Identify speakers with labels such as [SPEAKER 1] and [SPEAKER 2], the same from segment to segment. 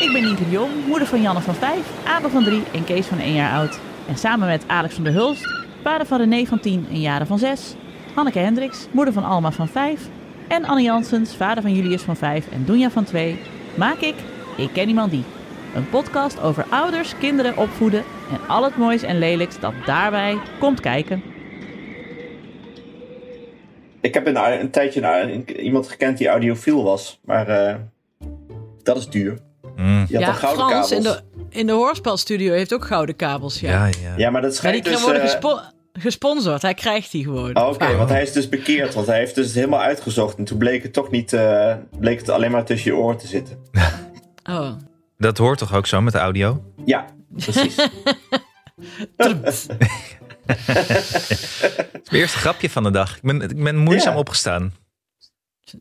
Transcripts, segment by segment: [SPEAKER 1] Ik ben Nienke de Jong, moeder van Janne van 5, Abel van 3 en Kees van 1 jaar oud. En samen met Alex van der Hulst, vader van René van 10 en Jaren van 6. Hanneke Hendricks, moeder van Alma van 5. En Anne Jansens, vader van Julius van 5 en Doenja van 2. Maak ik Ik Ken Iemand Die. Een podcast over ouders, kinderen, opvoeden en al het moois en lelijks dat daarbij komt kijken.
[SPEAKER 2] Ik heb een, een tijdje een- iemand gekend die audiofiel was, maar eh, dat is duur.
[SPEAKER 3] Mm.
[SPEAKER 2] Die had
[SPEAKER 4] Ja,
[SPEAKER 2] dan gouden
[SPEAKER 4] Frans
[SPEAKER 2] kabels.
[SPEAKER 4] in de, in de hoorspelstudio heeft ook gouden kabels. Ja,
[SPEAKER 3] Ja, ja.
[SPEAKER 2] Ja, maar dat
[SPEAKER 4] maar die
[SPEAKER 2] schijnt dus...
[SPEAKER 4] worden
[SPEAKER 2] eh,
[SPEAKER 4] gespo- gesponsord. Hij krijgt die gewoon.
[SPEAKER 2] oh, Oké, want hij is dus bekeerd, want hij heeft dus helemaal uitgezocht. En toen bleek het toch niet, eh, bleek het alleen maar tussen je oren te zitten.
[SPEAKER 4] Oh.
[SPEAKER 3] Dat hoort toch ook zo met de audio?
[SPEAKER 2] Ja, precies. Oh,
[SPEAKER 3] Het is mijn eerste grapje van de dag. Ik ben, ik ben moeizaam
[SPEAKER 2] Ja.
[SPEAKER 3] opgestaan.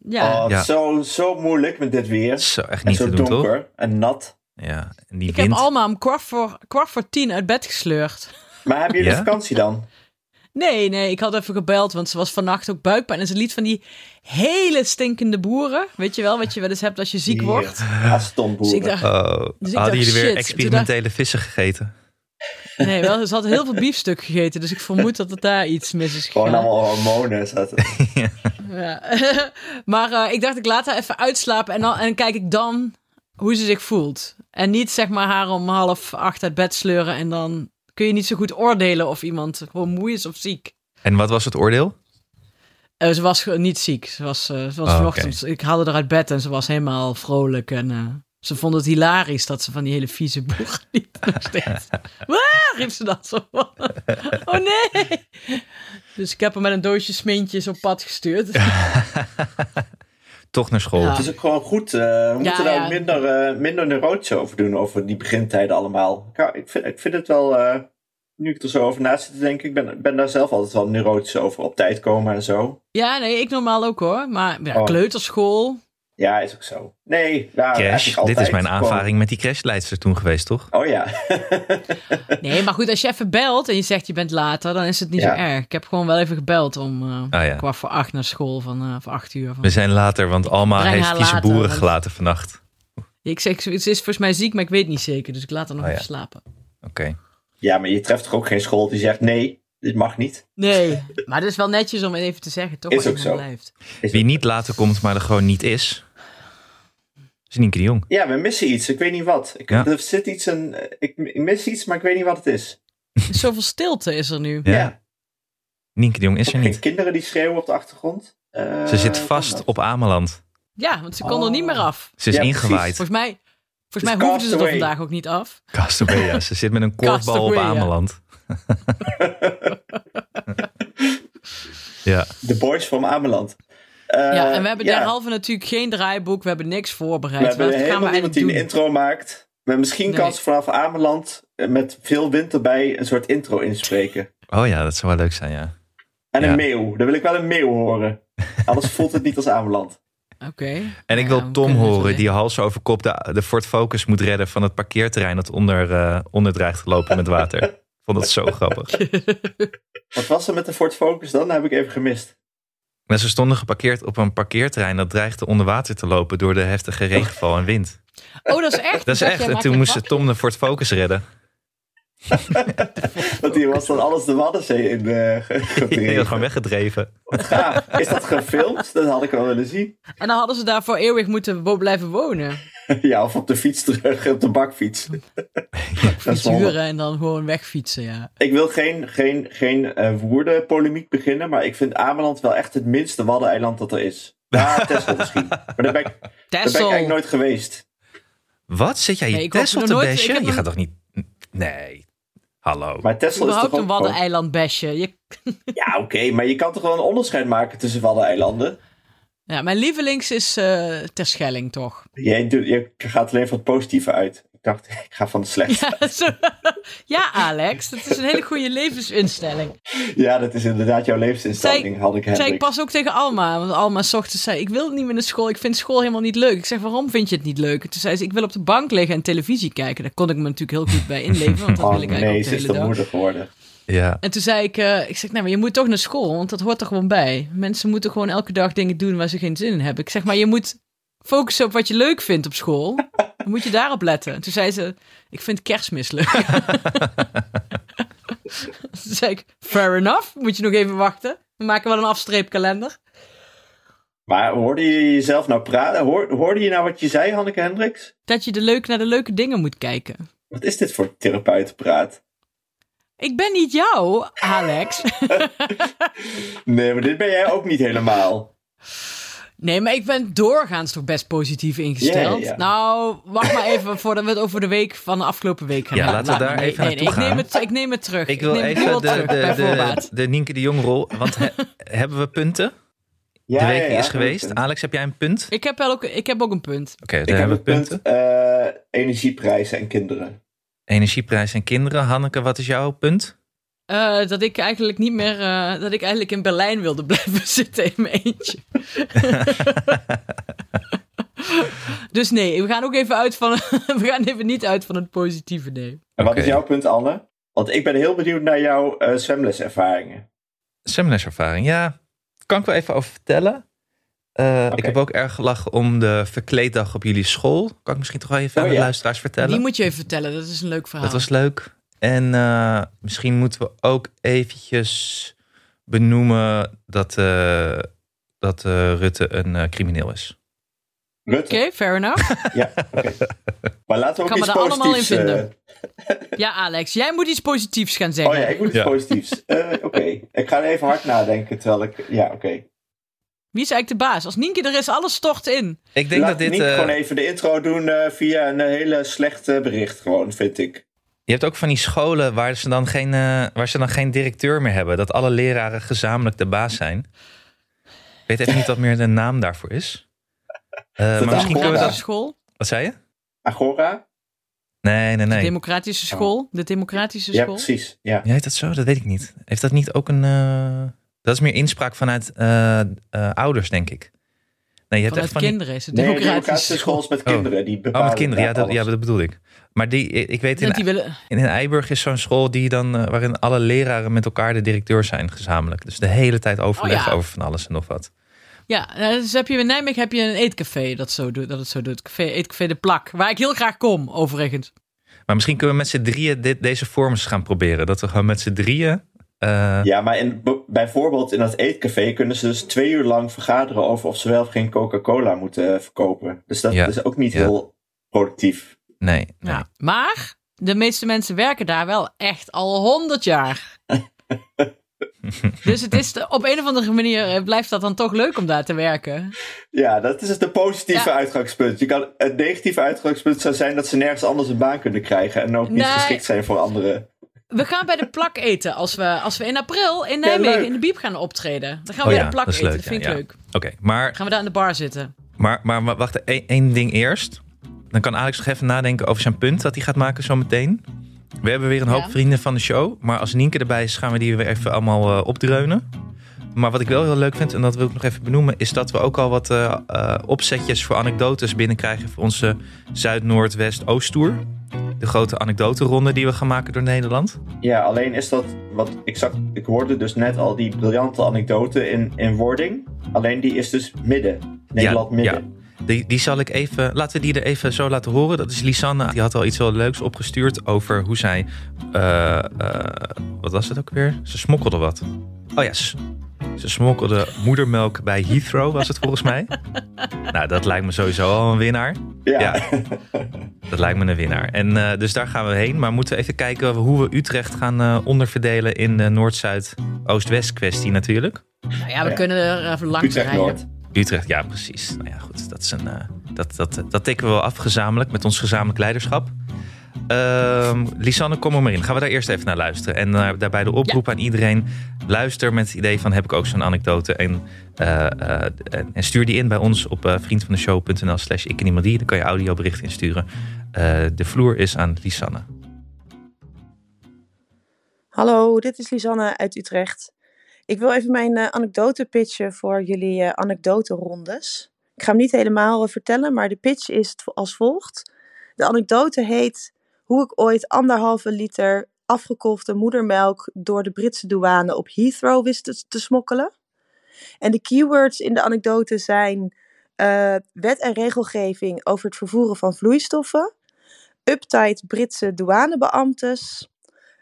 [SPEAKER 4] Ja.
[SPEAKER 2] Oh, het
[SPEAKER 3] Ja.
[SPEAKER 2] is zo, zo moeilijk met dit weer.
[SPEAKER 3] Zo, echt
[SPEAKER 2] en
[SPEAKER 3] niet
[SPEAKER 2] zo
[SPEAKER 3] te doen, toch?
[SPEAKER 2] donker en nat.
[SPEAKER 3] Ja, en die
[SPEAKER 4] ik
[SPEAKER 3] wind.
[SPEAKER 4] heb Alma om kwart voor, kwart voor tien uit bed gesleurd.
[SPEAKER 2] Maar hebben jullie
[SPEAKER 3] Ja?
[SPEAKER 2] vakantie dan?
[SPEAKER 4] Nee, nee, ik had even gebeld, want ze was vannacht ook buikpijn. En ze liet van die hele stinkende boeren. Weet je wel, wat je wel eens hebt als je ziek
[SPEAKER 2] Hier,
[SPEAKER 4] wordt.
[SPEAKER 2] Ah, Astonboeren.
[SPEAKER 4] Dus ik dacht,
[SPEAKER 3] Oh,
[SPEAKER 4] Dus ik
[SPEAKER 3] hadden
[SPEAKER 4] dacht,
[SPEAKER 3] jullie weer
[SPEAKER 4] shit. Toen
[SPEAKER 3] experimentele vissen gegeten?
[SPEAKER 4] nee, wel, ze had heel veel biefstuk gegeten. Dus ik vermoed dat het daar iets mis is
[SPEAKER 2] Gewoon
[SPEAKER 4] gegaan.
[SPEAKER 2] allemaal hormonen zaten.
[SPEAKER 4] Ja. maar eh, ik dacht, ik laat haar even uitslapen en dan en kijk ik dan hoe ze zich voelt. En niet zeg maar haar om half acht uit bed sleuren en dan kun je niet zo goed oordelen of iemand gewoon moe is of ziek.
[SPEAKER 3] En wat was het oordeel?
[SPEAKER 4] Eh, ze was ge- niet ziek. Ze was, eh, ze was
[SPEAKER 3] Oh,
[SPEAKER 4] vanochtend. Ik haalde haar uit bed en ze was helemaal vrolijk. En eh, ze vond het hilarisch dat ze van die hele vieze boer liep. nog steeds. Waar riep ze dat zo? oh nee! Dus ik heb haar met een doosje smintjes op pad gestuurd.
[SPEAKER 3] Toch naar school.
[SPEAKER 4] Ja.
[SPEAKER 2] Het is ook gewoon goed. eh, we moeten daar
[SPEAKER 4] ja.
[SPEAKER 2] ook minder, eh minder neurotisch over doen, over die begintijden allemaal. Ik, ik, vind, ik vind het wel, eh, nu ik er zo over na zit te denken, ik ben, ben daar zelf altijd wel neurotisch over. Op tijd komen en zo.
[SPEAKER 4] Ja, nee, ik normaal ook hoor. Maar ja,
[SPEAKER 2] Oh.
[SPEAKER 4] kleuterschool.
[SPEAKER 2] Ja, is ook zo. Nee, ja,
[SPEAKER 3] Crash.
[SPEAKER 2] eigenlijk altijd.
[SPEAKER 3] Dit is mijn
[SPEAKER 2] Gewoon-
[SPEAKER 3] aanvaring met die crashleidster toen geweest, toch?
[SPEAKER 2] Oh ja.
[SPEAKER 4] Nee, maar goed, als je even belt en je zegt je bent later, dan is het niet
[SPEAKER 2] Ja.
[SPEAKER 4] zo erg. Ik heb gewoon wel even gebeld om eh
[SPEAKER 3] Ah ja. Dus-
[SPEAKER 4] kwart voor acht naar school van eh, voor acht uur. Van.
[SPEAKER 3] We zijn later, want Alma
[SPEAKER 4] Breng
[SPEAKER 3] heeft
[SPEAKER 4] haar
[SPEAKER 3] vieze
[SPEAKER 4] later,
[SPEAKER 3] boeren
[SPEAKER 4] want-
[SPEAKER 3] gelaten vannacht.
[SPEAKER 4] Ik zeg, ze is volgens mij ziek, maar ik weet niet zeker. Dus ik laat haar nog
[SPEAKER 3] Oh ja.
[SPEAKER 4] even slapen.
[SPEAKER 3] Oké.
[SPEAKER 2] ja, maar je treft toch ook geen school die zegt nee, dit mag niet.
[SPEAKER 4] Nee, maar het is wel netjes om het even te zeggen, toch?
[SPEAKER 2] Is
[SPEAKER 4] als
[SPEAKER 2] ook
[SPEAKER 4] iemand
[SPEAKER 2] zo.
[SPEAKER 4] Blijft.
[SPEAKER 2] Is
[SPEAKER 3] Wie
[SPEAKER 2] ook-
[SPEAKER 3] niet later komt, maar er gewoon niet is, is Nienke de Jong.
[SPEAKER 2] Ja, we missen iets. Ik weet niet wat. Ik,
[SPEAKER 3] Ja.
[SPEAKER 2] er zit iets een, ik, ik mis iets, maar ik weet niet wat het is.
[SPEAKER 4] Dus Zoveel stilte is er nu.
[SPEAKER 3] Ja, Nienke de Jong is er
[SPEAKER 2] Ook geen
[SPEAKER 3] niet.
[SPEAKER 2] kinderen die schreeuwen op de achtergrond. Eh,
[SPEAKER 3] Ze zit
[SPEAKER 2] wat dan?
[SPEAKER 3] vast op Ameland.
[SPEAKER 4] Ja, want ze kon er
[SPEAKER 2] Oh.
[SPEAKER 4] niet meer af.
[SPEAKER 3] Ze is
[SPEAKER 2] Ja, precies.
[SPEAKER 3] ingewaaid.
[SPEAKER 4] Volgens mij,
[SPEAKER 2] is
[SPEAKER 4] volgens mij hoefden ze er
[SPEAKER 2] castaway.
[SPEAKER 4] vandaag ook niet af.
[SPEAKER 3] Castaway, ja. Ze zit met een korfbal op
[SPEAKER 4] Castaway, ja.
[SPEAKER 3] Ameland. ja.
[SPEAKER 2] De Boys from Ameland. Eh,
[SPEAKER 4] ja, en we hebben
[SPEAKER 2] ja,
[SPEAKER 4] derhalve natuurlijk geen draaiboek. We hebben niks voorbereid.
[SPEAKER 2] We hebben
[SPEAKER 4] Wat gaan we
[SPEAKER 2] helemaal
[SPEAKER 4] eigenlijk
[SPEAKER 2] niemand die
[SPEAKER 4] doen?
[SPEAKER 2] een intro maakt. Maar misschien
[SPEAKER 4] Nee.
[SPEAKER 2] kan ze vanaf Ameland eh, met veel wind erbij een soort intro inspreken.
[SPEAKER 3] Oh ja, dat zou wel leuk zijn, ja.
[SPEAKER 2] En
[SPEAKER 3] Ja.
[SPEAKER 2] een meeuw. Daar wil ik wel een meeuw horen. Anders voelt het niet als Ameland.
[SPEAKER 4] Oké.
[SPEAKER 3] En ik
[SPEAKER 4] Ja,
[SPEAKER 3] wil
[SPEAKER 4] we
[SPEAKER 3] Tom
[SPEAKER 4] kunnen het wel
[SPEAKER 3] horen die
[SPEAKER 4] doen.
[SPEAKER 3] hals over kop de, de Ford Focus moet redden van het parkeerterrein dat onder, eh, onder dreigt te lopen met water. Ik vond dat zo grappig.
[SPEAKER 2] Wat was er met de Ford Focus dan? Dat heb ik even gemist.
[SPEAKER 3] Maar ze stonden geparkeerd op een parkeerterrein dat dreigde onder water te lopen door de heftige regenval en wind.
[SPEAKER 4] Oh, dat is echt.
[SPEAKER 3] Dat is echt. En toen moest Tom de Ford Focus redden.
[SPEAKER 2] Want hier was dan alles de Waddenzee in eh, ge-
[SPEAKER 3] Die werd
[SPEAKER 2] gedreven.
[SPEAKER 3] gewoon weggedreven.
[SPEAKER 2] Ja, is dat gefilmd? Dat had ik wel willen zien.
[SPEAKER 4] En dan hadden ze daar voor eeuwig moeten wo- blijven wonen.
[SPEAKER 2] Ja, of op de fiets terug, op de bakfiets. Dat is wel-
[SPEAKER 4] Fietsuren en dan gewoon wegfietsen, ja.
[SPEAKER 2] Ik wil geen, geen, geen eh, woerdenpolemiek beginnen, maar ik vind Ameland wel echt het minste waddeneiland dat er is. Ja, Texel misschien. Maar daar ben, ik, daar ben ik
[SPEAKER 4] Tessel.
[SPEAKER 2] eigenlijk nooit geweest.
[SPEAKER 3] Wat? Zit jij
[SPEAKER 4] Nee,
[SPEAKER 3] je
[SPEAKER 4] ik hoop
[SPEAKER 3] Tesla
[SPEAKER 4] nog
[SPEAKER 3] te
[SPEAKER 4] nooit- ik
[SPEAKER 3] bashen?
[SPEAKER 4] heb
[SPEAKER 3] Je
[SPEAKER 4] nog-
[SPEAKER 3] gaat toch niet... Nee. Hallo.
[SPEAKER 2] Maar Texel is toch
[SPEAKER 4] Überhaupt
[SPEAKER 2] ook
[SPEAKER 4] een waddeneiland besje. Je...
[SPEAKER 2] gewoon- Ja, oké, maar je kan toch wel een onderscheid maken tussen waddeneilanden?
[SPEAKER 4] Ja, mijn lievelings is eh Terschelling, toch?
[SPEAKER 2] Jij, doet- jij gaat alleen van het positieve uit. Ik dacht, ik ga van het slechte.
[SPEAKER 4] Ja, zo- ja, Alex, dat is een hele goede levensinstelling.
[SPEAKER 2] Ja, dat is inderdaad jouw levensinstelling,
[SPEAKER 4] Zij-
[SPEAKER 2] had ik
[SPEAKER 4] Zei ik
[SPEAKER 2] Hendrik.
[SPEAKER 4] pas ook tegen Alma, want Alma 's ochtends zei: Ik wil niet meer naar school, ik vind school helemaal niet leuk. Ik zeg: Waarom vind je het niet leuk? En Toen zei ze: Ik wil op de bank liggen en televisie kijken. Daar kon ik me natuurlijk heel goed bij inleven, want dat
[SPEAKER 2] Oh
[SPEAKER 4] wil ik eigenlijk
[SPEAKER 2] nee,
[SPEAKER 4] ook
[SPEAKER 2] ze
[SPEAKER 4] de
[SPEAKER 2] is
[SPEAKER 4] hele
[SPEAKER 2] de
[SPEAKER 4] dag.
[SPEAKER 2] moeder geworden.
[SPEAKER 3] Ja.
[SPEAKER 4] En toen zei ik, eh, ik zeg, nee, maar je moet toch naar school, want dat hoort er gewoon bij. Mensen moeten gewoon elke dag dingen doen waar ze geen zin in hebben. Ik zeg, maar je moet focussen op wat je leuk vindt op school. Dan moet je daarop letten. En toen zei ze, ik vind kerstmis leuk. toen zei ik, fair enough. Moet je nog even wachten. We maken wel een afstreepkalender.
[SPEAKER 2] Maar hoorde je jezelf nou praten? Hoor- hoorde je nou wat je zei, Hanneke Hendricks?
[SPEAKER 4] Dat je de leuk, naar de leuke dingen moet kijken.
[SPEAKER 2] Wat is dit voor therapeutenpraat?
[SPEAKER 4] Ik ben niet jou, Alex.
[SPEAKER 2] Nee, maar dit ben jij ook niet helemaal.
[SPEAKER 4] Nee, maar ik ben doorgaans toch best positief ingesteld.
[SPEAKER 2] Ja, ja.
[SPEAKER 4] Nou, wacht maar even voordat we het over de week van de afgelopen week gaan
[SPEAKER 3] Ja,
[SPEAKER 4] hebben.
[SPEAKER 3] laten we
[SPEAKER 4] Nou,
[SPEAKER 3] daar
[SPEAKER 4] nee,
[SPEAKER 3] even
[SPEAKER 4] nee, nee,
[SPEAKER 3] naartoe
[SPEAKER 4] ik neem
[SPEAKER 3] gaan.
[SPEAKER 4] het, Ik neem het terug.
[SPEAKER 3] Ik wil
[SPEAKER 4] neem het nu
[SPEAKER 3] even
[SPEAKER 4] wel
[SPEAKER 3] de,
[SPEAKER 4] terug,
[SPEAKER 3] de,
[SPEAKER 4] bij
[SPEAKER 3] de,
[SPEAKER 4] voorbaat.
[SPEAKER 3] de Nienke de Jong rol. Want he- hebben we punten?
[SPEAKER 2] Ja,
[SPEAKER 3] de week
[SPEAKER 2] ja,
[SPEAKER 3] die
[SPEAKER 2] ja,
[SPEAKER 3] is
[SPEAKER 2] goed
[SPEAKER 3] geweest.
[SPEAKER 2] punt.
[SPEAKER 3] Alex, heb jij een punt? Oké,
[SPEAKER 4] Ik heb, wel ook, ik heb ook een punt.
[SPEAKER 3] daar
[SPEAKER 2] Ik heb
[SPEAKER 3] hebben
[SPEAKER 2] het
[SPEAKER 3] we punten.
[SPEAKER 2] punt eh, energieprijzen en kinderen.
[SPEAKER 3] Energieprijs en kinderen. Hanneke, wat is jouw punt?
[SPEAKER 4] Eh, dat ik eigenlijk niet meer... eh, dat ik eigenlijk in Berlijn wilde blijven zitten in mijn eentje. dus nee, we gaan ook even uit van... we gaan even niet uit van het positieve, nee.
[SPEAKER 2] En wat
[SPEAKER 3] Oké.
[SPEAKER 2] is jouw punt, Anne? Want ik ben heel benieuwd naar jouw eh, zwemleservaringen.
[SPEAKER 3] Seminarservaring, ja. Kan ik wel even over vertellen. Eh, Ik
[SPEAKER 2] Oké.
[SPEAKER 3] heb ook erg gelachen om de verkleeddag op jullie school. Kan ik misschien toch wel even
[SPEAKER 2] Oh,
[SPEAKER 3] aan de
[SPEAKER 2] ja.
[SPEAKER 3] luisteraars vertellen?
[SPEAKER 4] Die moet je even vertellen, dat is een leuk verhaal.
[SPEAKER 3] Dat was leuk. En eh, misschien moeten we ook eventjes benoemen dat, eh, dat eh, Rutte een eh, crimineel is.
[SPEAKER 2] Rutte.
[SPEAKER 4] Oké, fair enough.
[SPEAKER 2] Ja, oké. Maar laten we ook
[SPEAKER 4] Kan me
[SPEAKER 2] iets
[SPEAKER 4] daar allemaal
[SPEAKER 2] positiefs...
[SPEAKER 4] in
[SPEAKER 2] eh,
[SPEAKER 4] vinden. Ja, Alex, jij moet iets positiefs gaan zeggen.
[SPEAKER 2] oh ja, ik moet iets
[SPEAKER 3] Ja.
[SPEAKER 2] positiefs. Eh, oké, ik ga er even hard nadenken terwijl ik... Ja, oké.
[SPEAKER 4] Wie is eigenlijk de baas? Als Nienke er is, alles stort in.
[SPEAKER 3] Ik denk
[SPEAKER 2] Laat
[SPEAKER 3] dat dit.
[SPEAKER 2] Niek
[SPEAKER 3] eh,
[SPEAKER 2] gewoon even de intro doen eh, via een hele slechte bericht gewoon, vind ik.
[SPEAKER 3] Je hebt ook van die scholen waar ze, dan geen, eh, waar ze dan geen directeur meer hebben. Dat alle leraren gezamenlijk de baas zijn. Ik weet even niet wat meer de naam daarvoor is. Eh, maar misschien kunnen we
[SPEAKER 2] Agora?
[SPEAKER 4] Democratische
[SPEAKER 3] dat.
[SPEAKER 4] school.
[SPEAKER 3] Wat zei je?
[SPEAKER 2] Agora?
[SPEAKER 3] Nee, nee,
[SPEAKER 4] De
[SPEAKER 3] nee.
[SPEAKER 4] democratische school. De democratische
[SPEAKER 2] Ja,
[SPEAKER 4] school.
[SPEAKER 2] precies. Ja.
[SPEAKER 3] Ja, heet dat zo? Dat weet ik niet. Heeft dat niet ook een... eh, Dat is meer inspraak vanuit eh, eh, ouders, denk ik. Nee, je hebt
[SPEAKER 4] Vanuit
[SPEAKER 3] echt van die-
[SPEAKER 4] kinderen is het
[SPEAKER 2] Nee,
[SPEAKER 4] democratische,
[SPEAKER 2] democratische
[SPEAKER 4] school.
[SPEAKER 2] schools met
[SPEAKER 3] Oh.
[SPEAKER 2] kinderen. Die bepalen
[SPEAKER 3] Oh, met kinderen. Ja
[SPEAKER 2] inderdaad
[SPEAKER 3] dat, ja, dat bedoel ik. Maar die, ik weet, in,
[SPEAKER 4] Dat die willen...
[SPEAKER 3] in Eiburg is zo'n school die dan, eh, waarin alle leraren met elkaar de directeur zijn gezamenlijk. Dus de hele tijd overleg
[SPEAKER 4] Oh, ja.
[SPEAKER 3] over van alles en nog wat.
[SPEAKER 4] Ja, nou, dus heb je in Nijmegen heb je een eetcafé dat, zo doet, dat het zo doet. Café, eetcafé De Plak, waar ik heel graag kom, overigens.
[SPEAKER 3] Maar misschien kunnen we met z'n drieën dit, deze vorms gaan proberen. Dat we gewoon met z'n drieën... eh,
[SPEAKER 2] alles. Ja, maar in, b- bijvoorbeeld in dat eetcafé kunnen ze dus twee uur lang vergaderen over of ze wel of geen Coca-Cola moeten eh, verkopen. Dus dat
[SPEAKER 3] Ja.
[SPEAKER 2] is ook niet
[SPEAKER 3] Ja.
[SPEAKER 2] heel productief.
[SPEAKER 3] Nee,
[SPEAKER 4] Ja.
[SPEAKER 3] nee.
[SPEAKER 4] Maar de meeste mensen werken daar wel echt al honderd jaar. dus het is de- op een of andere manier eh, blijft dat dan toch leuk om daar te werken.
[SPEAKER 2] Ja, dat is het de positieve
[SPEAKER 4] Ja.
[SPEAKER 2] uitgangspunt. Je kan, het negatieve uitgangspunt zou zijn dat ze nergens anders een baan kunnen krijgen en ook niet
[SPEAKER 4] Nee.
[SPEAKER 2] geschikt zijn voor anderen.
[SPEAKER 4] We gaan bij de plak eten als we, als we in april in Nijmegen
[SPEAKER 2] leuk.
[SPEAKER 4] in de Biep gaan optreden. Dan gaan
[SPEAKER 3] Oh
[SPEAKER 4] we bij
[SPEAKER 3] ja,
[SPEAKER 4] de plak
[SPEAKER 3] dat is
[SPEAKER 4] eten,
[SPEAKER 3] leuk,
[SPEAKER 4] vind
[SPEAKER 3] ja,
[SPEAKER 4] ik
[SPEAKER 3] ja.
[SPEAKER 4] leuk.
[SPEAKER 3] Oké, maar
[SPEAKER 4] Gaan we daar in de bar zitten.
[SPEAKER 3] Maar, maar, maar wacht, één, één ding eerst. Dan kan Alex nog even nadenken over zijn punt dat hij gaat maken zometeen. We hebben weer een hoop
[SPEAKER 4] Ja.
[SPEAKER 3] vrienden van de show. Maar als Nienke erbij is, gaan we die weer even allemaal eh, opdreunen. Maar wat ik wel heel leuk vind, en dat wil ik nog even benoemen... is dat we ook al wat eh, eh, opzetjes voor anekdotes binnenkrijgen... voor onze Zuid-Noord-West-Oosttour. De grote anekdotenronde die we gaan maken door Nederland.
[SPEAKER 2] Ja, alleen is dat wat ik zag. Ik hoorde dus net al die briljante anekdote in, in wording. Alleen die is dus midden. Nederland midden.
[SPEAKER 3] ja. Die, die zal ik even, laten we die er even zo laten horen. Dat is Lisanne. Die had al iets heel leuks opgestuurd over hoe zij, eh, eh, wat was het ook weer? Ze smokkelde wat. Oh ja, s- ze smokkelde moedermelk bij Heathrow was het volgens mij. Nou, dat lijkt me sowieso al een winnaar.
[SPEAKER 2] Ja.
[SPEAKER 3] Ja. Dat lijkt me een winnaar. En eh, dus daar gaan we heen. Maar moeten we even kijken hoe we Utrecht gaan eh, onderverdelen in de Noord-Zuid-Oost-West kwestie natuurlijk.
[SPEAKER 4] Nou ja, we
[SPEAKER 2] Ja.
[SPEAKER 4] kunnen er even langs
[SPEAKER 2] Utrecht
[SPEAKER 4] rijden.
[SPEAKER 2] Noord.
[SPEAKER 3] Utrecht, ja, precies. Nou ja, goed. Dat, is een, eh, dat, dat, dat tikken we wel af gezamenlijk met ons gezamenlijk leiderschap. Ehm, Lisanne, kom er maar in. Gaan we daar eerst even naar luisteren. En eh, daarbij de oproep aan iedereen. Luister met het idee van heb ik ook zo'n anekdote. En, eh, eh, en, en stuur die in bij ons op eh vriendvandeshow.nl slash ik en iemand die. Dan kan je audiobericht insturen. Eh, de vloer is aan Lisanne.
[SPEAKER 5] Hallo, dit is Lisanne uit Utrecht. Ik wil even mijn eh, anekdote pitchen voor jullie eh anekdoterondes. Ik ga hem niet helemaal eh, vertellen, maar de pitch is het vo- als volgt. De anekdote heet hoe ik ooit anderhalve liter afgekochte moedermelk door de Britse douane op Heathrow wist te, te smokkelen. En de keywords in de anekdote zijn eh, wet en regelgeving over het vervoeren van vloeistoffen, uptight Britse douanebeambtes,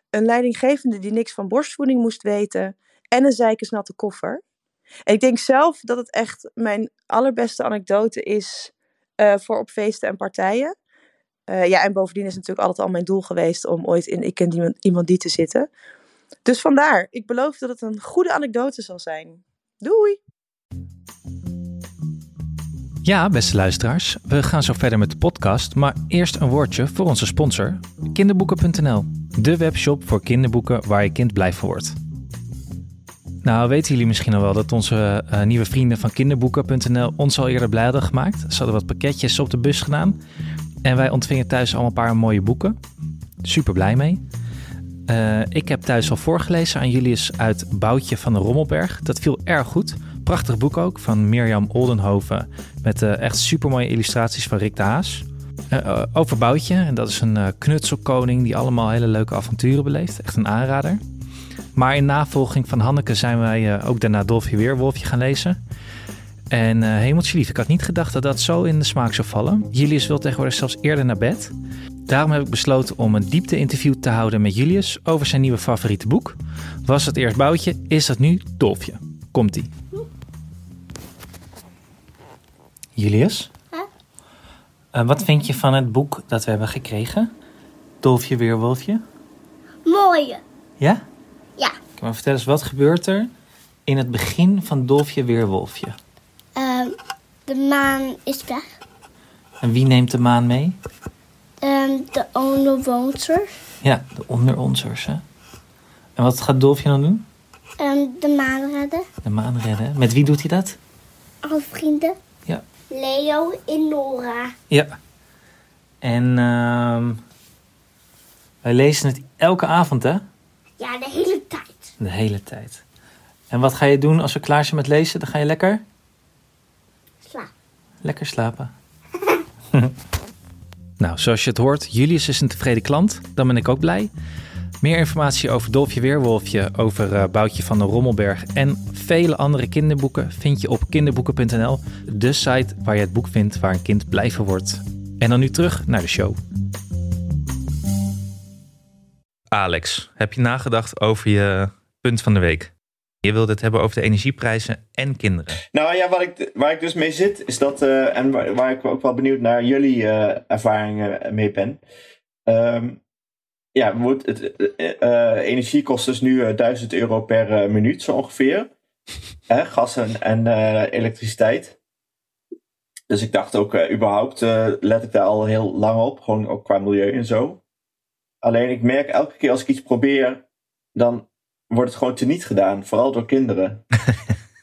[SPEAKER 5] een leidinggevende die niks van borstvoeding moest weten en een zeikensnatte koffer. En ik denk zelf dat het echt mijn allerbeste anekdote is eh, voor op feesten en partijen. Eh, ja, en bovendien is het natuurlijk altijd al mijn doel geweest om ooit in Ik ken iemand, iemand die te zitten. Dus vandaar, ik beloof dat het een goede anekdote zal zijn. Doei!
[SPEAKER 3] Ja, beste luisteraars, we gaan zo verder met de podcast, maar eerst een woordje voor onze sponsor, kinderboeken.nl. De webshop voor kinderboeken waar je kind blij van wordt. Nou, weten jullie misschien al wel dat onze eh, nieuwe vrienden van kinderboeken.nl ons al eerder blij hadden gemaakt. Ze hadden wat pakketjes op de bus gedaan en wij ontvingen thuis al een paar mooie boeken. Super blij mee. Eh, ik heb thuis al voorgelezen aan Julius uit Boutje van de Rommelberg. Dat viel erg goed. Prachtig boek ook van Mirjam Oldenhoven. Met eh, echt supermooie illustraties van Rick de Haas. Eh, eh, over Boutje, en dat is een eh, knutselkoning die allemaal hele leuke avonturen beleeft. Echt een aanrader. Maar in navolging van Hanneke zijn wij eh, ook daarna Dolfje Weerwolfje gaan lezen. En eh hemeltje lief, ik had niet gedacht dat dat zo in de smaak zou vallen. Julius wil tegenwoordig zelfs eerder naar bed. Daarom heb ik besloten om een diepte-interview te houden met Julius over zijn nieuwe favoriete boek. Was het eerst Boutje, is dat nu Dolfje. Komt-ie. Julius? Eh, wat vind je van het boek dat we hebben gekregen? Dolfje Weerwolfje?
[SPEAKER 6] Mooie.
[SPEAKER 3] Ja?
[SPEAKER 6] Ja.
[SPEAKER 3] Kan maar vertel eens, wat gebeurt er in het begin van Dolfje Weerwolfje?
[SPEAKER 6] Ehm, de maan is weg.
[SPEAKER 3] En wie neemt de maan mee?
[SPEAKER 6] Ehm, de onderwoner.
[SPEAKER 3] Ja, de onderonsers, hè? En wat gaat Dolfje dan doen?
[SPEAKER 6] Ehm de maan redden.
[SPEAKER 3] De maan redden. hè? Met wie doet hij dat?
[SPEAKER 6] Alle vrienden.
[SPEAKER 3] Ja.
[SPEAKER 6] Leo en Nora.
[SPEAKER 3] Ja. En ehm, wij lezen het elke avond, hè?
[SPEAKER 6] Ja, de hele tijd.
[SPEAKER 3] De hele tijd. En wat ga je doen als we klaar zijn met lezen? Dan ga je lekker?
[SPEAKER 6] Slaap.
[SPEAKER 3] Lekker slapen. nou, zoals je het hoort, Julius is een tevreden klant. Dan ben ik ook blij. Meer informatie over Dolfje Weerwolfje, over eh, Boutje van de Rommelberg en vele andere kinderboeken vind je op kinderboeken.nl, de site waar je het boek vindt waar een kind blij van wordt. En dan nu terug naar de show. Alex, heb je nagedacht over je punt van de week? Je wilde het hebben over de energieprijzen en kinderen.
[SPEAKER 2] Nou ja, wat ik, waar ik dus mee zit, is dat, eh, en waar, waar ik ook wel benieuwd naar jullie eh, ervaringen mee ben. Ehm, ja, moet het, eh, eh, energie kost dus nu eh, 1000 euro per eh, minuut zo ongeveer. Hè, gas en, en eh, elektriciteit. Dus ik dacht ook, eh, überhaupt eh, let ik daar al heel lang op, gewoon ook qua milieu en zo. Alleen ik merk elke keer als ik iets probeer, dan wordt het gewoon teniet gedaan, vooral door kinderen.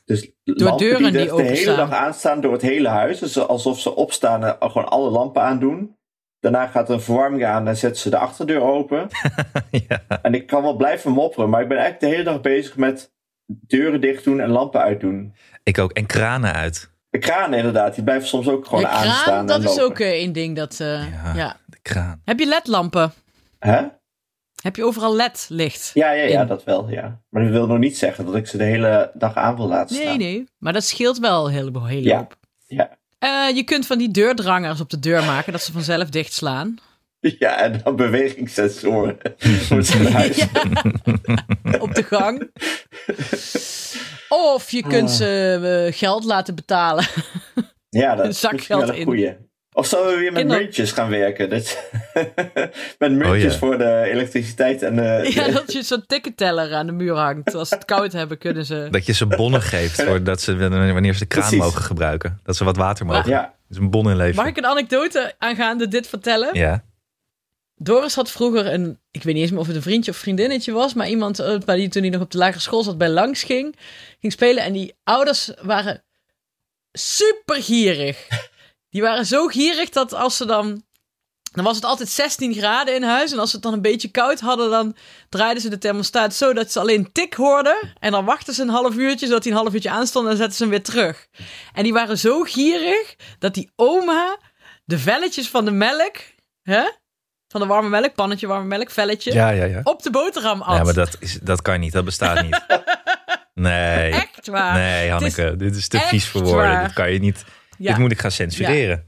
[SPEAKER 2] Dus lampen
[SPEAKER 4] deuren die
[SPEAKER 2] de- de hele
[SPEAKER 4] openstaan.
[SPEAKER 2] dag aanstaan door het hele huis. Dus alsof ze opstaan en gewoon alle lampen aandoen. Daarna gaat er een verwarming aan en zetten ze de achterdeur open.
[SPEAKER 3] ja.
[SPEAKER 2] En ik kan wel blijven mopperen, maar ik ben eigenlijk de hele dag bezig met deuren dicht doen en lampen uitdoen.
[SPEAKER 3] Ik ook. En kranen uit.
[SPEAKER 2] De kraan inderdaad, die blijven soms ook gewoon
[SPEAKER 4] De kraan,
[SPEAKER 2] aanstaan
[SPEAKER 4] dat
[SPEAKER 2] en
[SPEAKER 4] is
[SPEAKER 2] lopen.
[SPEAKER 4] ook eh, een ding dat... eh,
[SPEAKER 3] Ja.
[SPEAKER 4] ja.
[SPEAKER 3] De kraan.
[SPEAKER 4] Heb je ledlampen?
[SPEAKER 2] Hè?
[SPEAKER 4] Heb je overal ledlicht?
[SPEAKER 2] Ja, ja, ja,
[SPEAKER 4] In.
[SPEAKER 2] dat wel, ja. Maar dat wil nog niet zeggen dat ik ze de hele dag aan wil laten
[SPEAKER 4] Nee,
[SPEAKER 2] staan.
[SPEAKER 4] nee. Maar dat scheelt wel een heleboel. Heel
[SPEAKER 2] Ja.
[SPEAKER 4] hoop.
[SPEAKER 2] Ja.
[SPEAKER 4] Eh, je kunt van die deurdrangers op de deur maken dat ze vanzelf dichtslaan.
[SPEAKER 2] Ja, en dan bewegingssensoren voor het huis.
[SPEAKER 4] Ja. op de gang. Of je kunt ze eh, geld laten betalen.
[SPEAKER 2] Ja, dat
[SPEAKER 4] Een
[SPEAKER 2] is
[SPEAKER 4] zak
[SPEAKER 2] misschien wel
[SPEAKER 4] geld
[SPEAKER 2] een
[SPEAKER 4] in.
[SPEAKER 2] goeie. Of zouden we weer met
[SPEAKER 4] Kinderen-
[SPEAKER 2] muntjes gaan werken? Dat, met muntjes
[SPEAKER 3] ja.
[SPEAKER 2] voor de elektriciteit en de...
[SPEAKER 4] Ja, dat je zo'n tikkenteller aan de muur hangt. Als ze het koud hebben, kunnen ze.
[SPEAKER 3] Dat je ze bonnen geeft voor dat ze, wanneer ze de kraan
[SPEAKER 2] Precies.
[SPEAKER 3] mogen gebruiken. Dat ze wat water mogen.
[SPEAKER 2] Ja,
[SPEAKER 3] Dat is een bon in leven.
[SPEAKER 4] Mag ik een anekdote aangaande dit vertellen?
[SPEAKER 3] Ja.
[SPEAKER 4] Doris had vroeger een, ik weet niet eens meer of het een vriendje of vriendinnetje was, maar iemand eh, bij die toen hij nog op de lagere school zat bij langs ging, ging spelen en die ouders waren super gierig. Die waren zo gierig dat als ze dan, dan was het altijd 16 graden in huis en als ze het dan een beetje koud hadden, dan draaiden ze de thermostaat zo dat ze alleen tik hoorden en dan wachten ze een half uurtje zodat hij een half uurtje aanstond en dan zetten ze hem weer terug. En die waren zo gierig dat die oma de velletjes van de melk, hè? Van de warme melk, pannetje warme melk, velletje.
[SPEAKER 3] ja, ja, ja.
[SPEAKER 4] Op de boterham at.
[SPEAKER 3] Ja, maar dat, is, dat kan niet. Dat bestaat niet. Nee.
[SPEAKER 4] Echt waar.
[SPEAKER 3] Nee,
[SPEAKER 4] Het is
[SPEAKER 3] Hanneke. Dit is te
[SPEAKER 4] echt
[SPEAKER 3] vies voor woorden.
[SPEAKER 4] waar.
[SPEAKER 3] Dit kan je niet.
[SPEAKER 4] Ja.
[SPEAKER 7] Dit moet ik gaan censureren.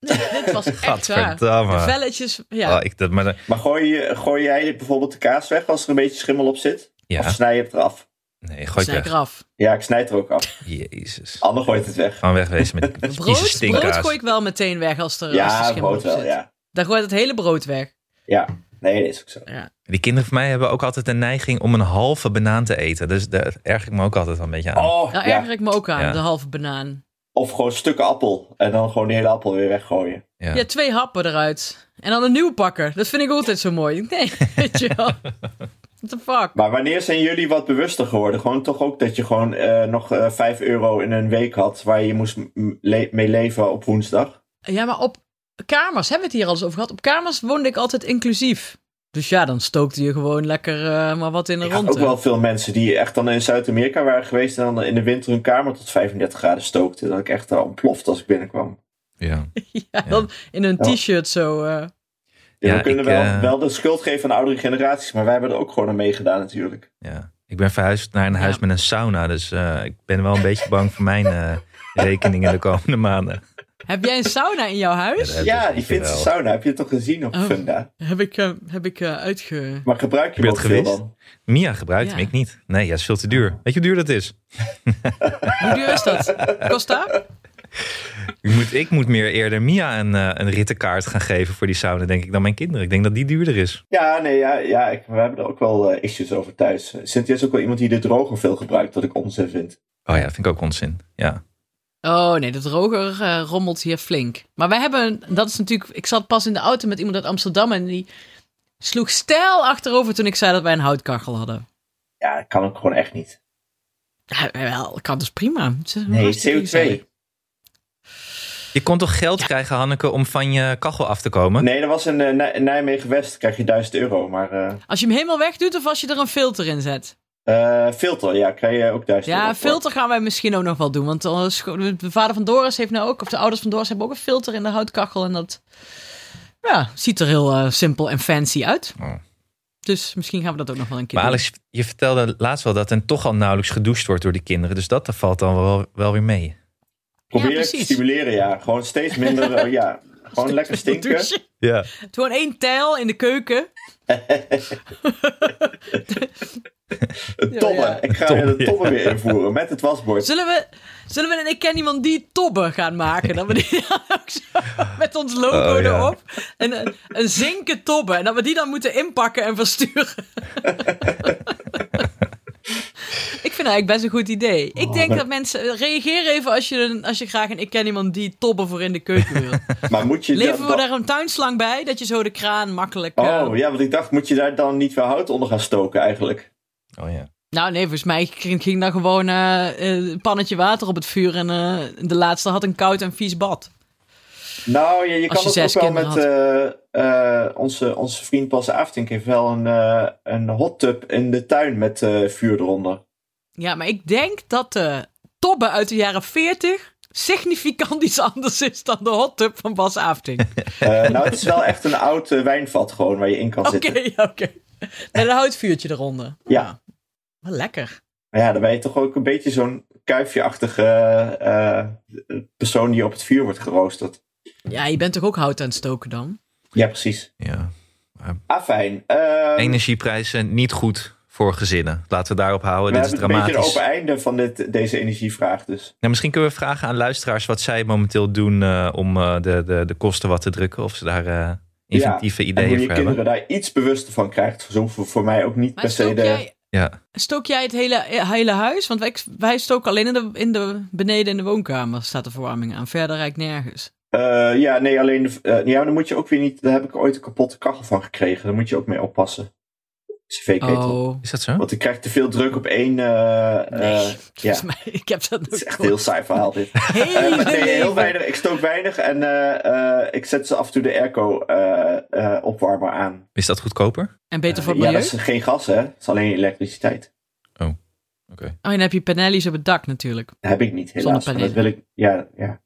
[SPEAKER 4] Dit was echt waar.
[SPEAKER 7] Gadverdamme.
[SPEAKER 4] De velletjes, ja.
[SPEAKER 7] Oh, ik, dat, maar,
[SPEAKER 2] Maar gooi, je, gooi jij bijvoorbeeld de kaas weg als er een beetje schimmel op zit? Of
[SPEAKER 7] ja,
[SPEAKER 2] snij je het eraf?
[SPEAKER 7] nee, gooi het
[SPEAKER 4] Snij ik
[SPEAKER 7] weg.
[SPEAKER 4] eraf.
[SPEAKER 2] Ja, ik snijd er ook af.
[SPEAKER 7] Jezus.
[SPEAKER 2] Anne gooit het weg.
[SPEAKER 7] Gewoon wegwezen met die vieze
[SPEAKER 4] Brood, brood
[SPEAKER 7] stinkkaas.
[SPEAKER 4] gooi ik wel meteen weg als er, als er
[SPEAKER 2] ja,
[SPEAKER 4] schimmel
[SPEAKER 2] brood
[SPEAKER 4] op
[SPEAKER 2] wel,
[SPEAKER 4] zit.
[SPEAKER 2] ja.
[SPEAKER 4] Dan gooit het hele brood weg.
[SPEAKER 2] Ja, nee, dat is ook zo.
[SPEAKER 7] Die kinderen van mij hebben ook altijd een neiging om een halve banaan te eten. Dus daar erg ik me ook altijd wel een beetje aan.
[SPEAKER 2] Oh,
[SPEAKER 4] Daar
[SPEAKER 2] ja.
[SPEAKER 4] erger ik me ook aan,
[SPEAKER 7] Ja.
[SPEAKER 4] de halve banaan.
[SPEAKER 2] Of gewoon stukken appel en dan gewoon de hele appel weer weggooien.
[SPEAKER 7] Ja.
[SPEAKER 4] Ja. twee happen eruit. En dan een nieuw pakken. Dat vind ik altijd zo mooi. Nee, weet je wel. What the fuck?
[SPEAKER 2] Maar wanneer zijn jullie wat bewuster geworden? Gewoon toch ook dat je gewoon eh, nog eh 5 euro in een week had waar je moest m- le- mee leven op woensdag?
[SPEAKER 4] Ja, maar op kamers, hebben we het hier al eens over gehad? Op kamers woonde ik altijd inclusief. Dus ja, dan stookte je gewoon lekker eh, maar wat in de
[SPEAKER 2] Ik had
[SPEAKER 4] ronde.
[SPEAKER 2] ook wel veel mensen die echt dan in Zuid-Amerika waren geweest en dan in de winter hun kamer tot 35 graden stookten. Dat ik echt al ontplofte als ik binnenkwam.
[SPEAKER 7] Ja.
[SPEAKER 4] Ja, dan in een
[SPEAKER 2] Ja.
[SPEAKER 4] t-shirt zo. eh.
[SPEAKER 2] Ja,
[SPEAKER 7] Ja,
[SPEAKER 2] we kunnen
[SPEAKER 7] ik,
[SPEAKER 2] wel,
[SPEAKER 7] eh,
[SPEAKER 2] wel de schuld geven aan oudere generaties, maar wij hebben er ook gewoon aan meegedaan natuurlijk.
[SPEAKER 7] Ja. Ik ben verhuisd naar een huis
[SPEAKER 4] Ja.
[SPEAKER 7] met een sauna. Dus eh, ik ben wel een beetje bang voor mijn eh, rekeningen de komende maanden.
[SPEAKER 4] Heb jij een sauna in jouw huis?
[SPEAKER 7] Ja, dus dat-
[SPEAKER 2] ja,
[SPEAKER 7] is
[SPEAKER 2] die
[SPEAKER 7] niet
[SPEAKER 2] Finse
[SPEAKER 7] geweldig.
[SPEAKER 2] sauna heb je toch gezien op
[SPEAKER 4] Oh.
[SPEAKER 2] Funda?
[SPEAKER 4] Heb ik, eh, heb ik eh, uitge...
[SPEAKER 2] Maar gebruik je
[SPEAKER 7] Ben
[SPEAKER 2] hem
[SPEAKER 7] je
[SPEAKER 2] ook
[SPEAKER 7] het
[SPEAKER 2] veel
[SPEAKER 7] geweest?
[SPEAKER 2] dan?
[SPEAKER 7] Mia gebruikt hem,
[SPEAKER 4] Ja.
[SPEAKER 7] ik niet. Nee, ja, is veel te duur. Weet je hoe duur dat is?
[SPEAKER 4] Hoe duur is dat? Kost dat?
[SPEAKER 7] Ik moet, ik moet meer eerder Mia een, eh, een rittenkaart gaan geven voor die sauna, denk ik, dan mijn kinderen. Ik denk dat die duurder is.
[SPEAKER 2] Ja, nee, ja, ja ik, we hebben er ook wel eh, issues over thuis. Cynthia is ook wel iemand die de droger veel gebruikt, wat ik onzin vind.
[SPEAKER 7] Oh ja, dat vind ik ook onzin. Ja.
[SPEAKER 4] Oh nee, de droger eh, rommelt hier flink. Maar wij hebben, dat is natuurlijk... Ik zat pas in de auto met iemand uit Amsterdam en die sloeg stijl achterover toen ik zei dat wij een houtkachel hadden.
[SPEAKER 2] Ja, dat kan ook gewoon echt niet.
[SPEAKER 4] Ja, wel, kan dus prima. Het is een
[SPEAKER 2] Nee,
[SPEAKER 4] hartstikke
[SPEAKER 2] CO2.
[SPEAKER 4] gezellig.
[SPEAKER 7] Je kon toch geld krijgen, Hanneke, om van je kachel af te komen?
[SPEAKER 2] Nee, dat was in eh, Nij- Nijmegen West, krijg je 1000 euro. Maar eh,
[SPEAKER 4] Als je hem helemaal wegdoet of als je er een filter in zet?
[SPEAKER 2] eh, filter, ja, krijg je ook 1000 euro.
[SPEAKER 4] Ja,
[SPEAKER 2] voor.
[SPEAKER 4] filter gaan wij misschien ook nog wel doen. Want eh, scho- de vader van Doris heeft nou ook, of de ouders van Doris hebben ook een filter in de houtkachel. En dat ja, ziet er heel eh, simpel en fancy uit.
[SPEAKER 7] Oh.
[SPEAKER 4] Dus misschien gaan we dat ook nog wel een keer
[SPEAKER 7] Maar
[SPEAKER 4] doen.
[SPEAKER 7] Alex, je vertelde laatst wel dat er toch al nauwelijks gedoucht wordt door die kinderen. Dus dat valt dan wel, wel weer mee.
[SPEAKER 2] Probeer
[SPEAKER 4] Ja,
[SPEAKER 2] het te
[SPEAKER 4] precies.
[SPEAKER 2] stimuleren, ja. Gewoon steeds minder, eh, ja. Gewoon lekker stinken.
[SPEAKER 4] Douchen.
[SPEAKER 7] Ja.
[SPEAKER 4] Gewoon één tijl in de keuken.
[SPEAKER 2] Eh, Tobben. Ik ga weer de
[SPEAKER 7] Tobben,
[SPEAKER 2] tobben weer invoeren met het wasbord.
[SPEAKER 4] Zullen we, zullen we een Ik ken iemand die tobben gaan maken? Dat we die dan ook zo met ons logo
[SPEAKER 7] Oh, ja.
[SPEAKER 4] erop. En een, een zinken tobben. En dat we die dan moeten inpakken en versturen. Ik vind eigenlijk best een goed idee. Ik
[SPEAKER 2] Oh,
[SPEAKER 4] denk dat mensen... Reageer even als je, een- als je graag een Ik ken iemand die tobben voor in de keuken wil.
[SPEAKER 2] Maar moet je
[SPEAKER 4] Leveren we
[SPEAKER 2] dat-
[SPEAKER 4] daar een tuinslang bij? Dat je zo de kraan makkelijk... eh,
[SPEAKER 2] Oh, ja, want ik dacht, moet je daar dan niet weer hout onder gaan stoken eigenlijk?
[SPEAKER 7] Oh ja.
[SPEAKER 4] Nou nee, volgens mij ging, ging daar gewoon eh, eh, een pannetje water op het vuur. En eh, de laatste had een koud en vies bad.
[SPEAKER 2] Nou, je, je kan
[SPEAKER 4] Als je
[SPEAKER 2] het ook
[SPEAKER 4] zes
[SPEAKER 2] wel met
[SPEAKER 4] kinderen
[SPEAKER 2] eh, eh, onze, onze vriend Bas Aftink heeft wel een, eh, een hot tub in de tuin met eh, vuur eronder.
[SPEAKER 4] Ja, maar ik denk dat de tobbe uit de jaren 40 significant iets anders is dan de hot tub van Bas Afting.
[SPEAKER 2] Eh, nou, het is wel echt een oud eh, wijnvat gewoon waar je in kan
[SPEAKER 4] Oké,
[SPEAKER 2] zitten.
[SPEAKER 4] oké. En een houtvuurtje eronder. Ah,
[SPEAKER 2] Ja.
[SPEAKER 4] Wel lekker.
[SPEAKER 2] Maar ja, dan ben je toch ook een beetje zo'n kuifjeachtige eh, eh, persoon die op het vuur wordt geroosterd.
[SPEAKER 4] Ja, je bent toch ook hout aan het stoken dan?
[SPEAKER 2] Ja, precies.
[SPEAKER 7] ja.
[SPEAKER 2] Afijn. ehm,
[SPEAKER 7] Energieprijzen niet goed voor gezinnen. Laten we daarop houden.
[SPEAKER 2] we
[SPEAKER 7] Dit is
[SPEAKER 2] hebben een beetje een
[SPEAKER 7] dramatisch.
[SPEAKER 2] open einde van dit, deze energievraag dus.
[SPEAKER 7] Nou, misschien kunnen we vragen aan luisteraars wat zij momenteel doen eh, om eh, de, de, de kosten wat te drukken. Of ze daar eh, inventieve
[SPEAKER 2] En hoe
[SPEAKER 7] ideeën
[SPEAKER 2] je
[SPEAKER 7] voor hebben.
[SPEAKER 2] kinderen daar iets bewuster van krijgt. Zo hoeven voor mij ook niet
[SPEAKER 4] Maar
[SPEAKER 2] per se
[SPEAKER 4] stook
[SPEAKER 2] de...
[SPEAKER 4] jij,
[SPEAKER 7] Ja.
[SPEAKER 4] stook jij het hele, eh, hele huis? Want wij, wij stoken alleen in de, in de, beneden in de woonkamer staat de verwarming aan. Verder rijk nergens.
[SPEAKER 2] Eh, ja, nee, alleen. De, eh, ja, dan moet je ook weer niet. Daar heb ik ooit een kapotte kachel van gekregen. Daar moet je ook mee oppassen. CV-ketel.
[SPEAKER 4] Oh,
[SPEAKER 7] Is dat zo?
[SPEAKER 2] Want ik krijg te veel druk op één. eh,
[SPEAKER 4] nee.
[SPEAKER 2] eh, ja,
[SPEAKER 4] Volgens mij, ik heb dat nog
[SPEAKER 2] het is echt een heel saai verhaal dit.
[SPEAKER 4] Hele
[SPEAKER 2] Eh, nee, heel
[SPEAKER 4] leven.
[SPEAKER 2] weinig. Ik stook weinig en eh, eh, ik zet ze af en toe de airco-opwarmer aan.
[SPEAKER 7] Is dat goedkoper?
[SPEAKER 4] En beter voor het
[SPEAKER 2] ja,
[SPEAKER 4] milieu?
[SPEAKER 2] dat is geen gas, hè? Dat is alleen elektriciteit.
[SPEAKER 4] Oh, en dan heb je panellies op het dak natuurlijk.
[SPEAKER 2] Dat heb ik niet, helaas. Maar dat wil
[SPEAKER 4] Zonnepanelen.
[SPEAKER 2] ik. Ja, ja.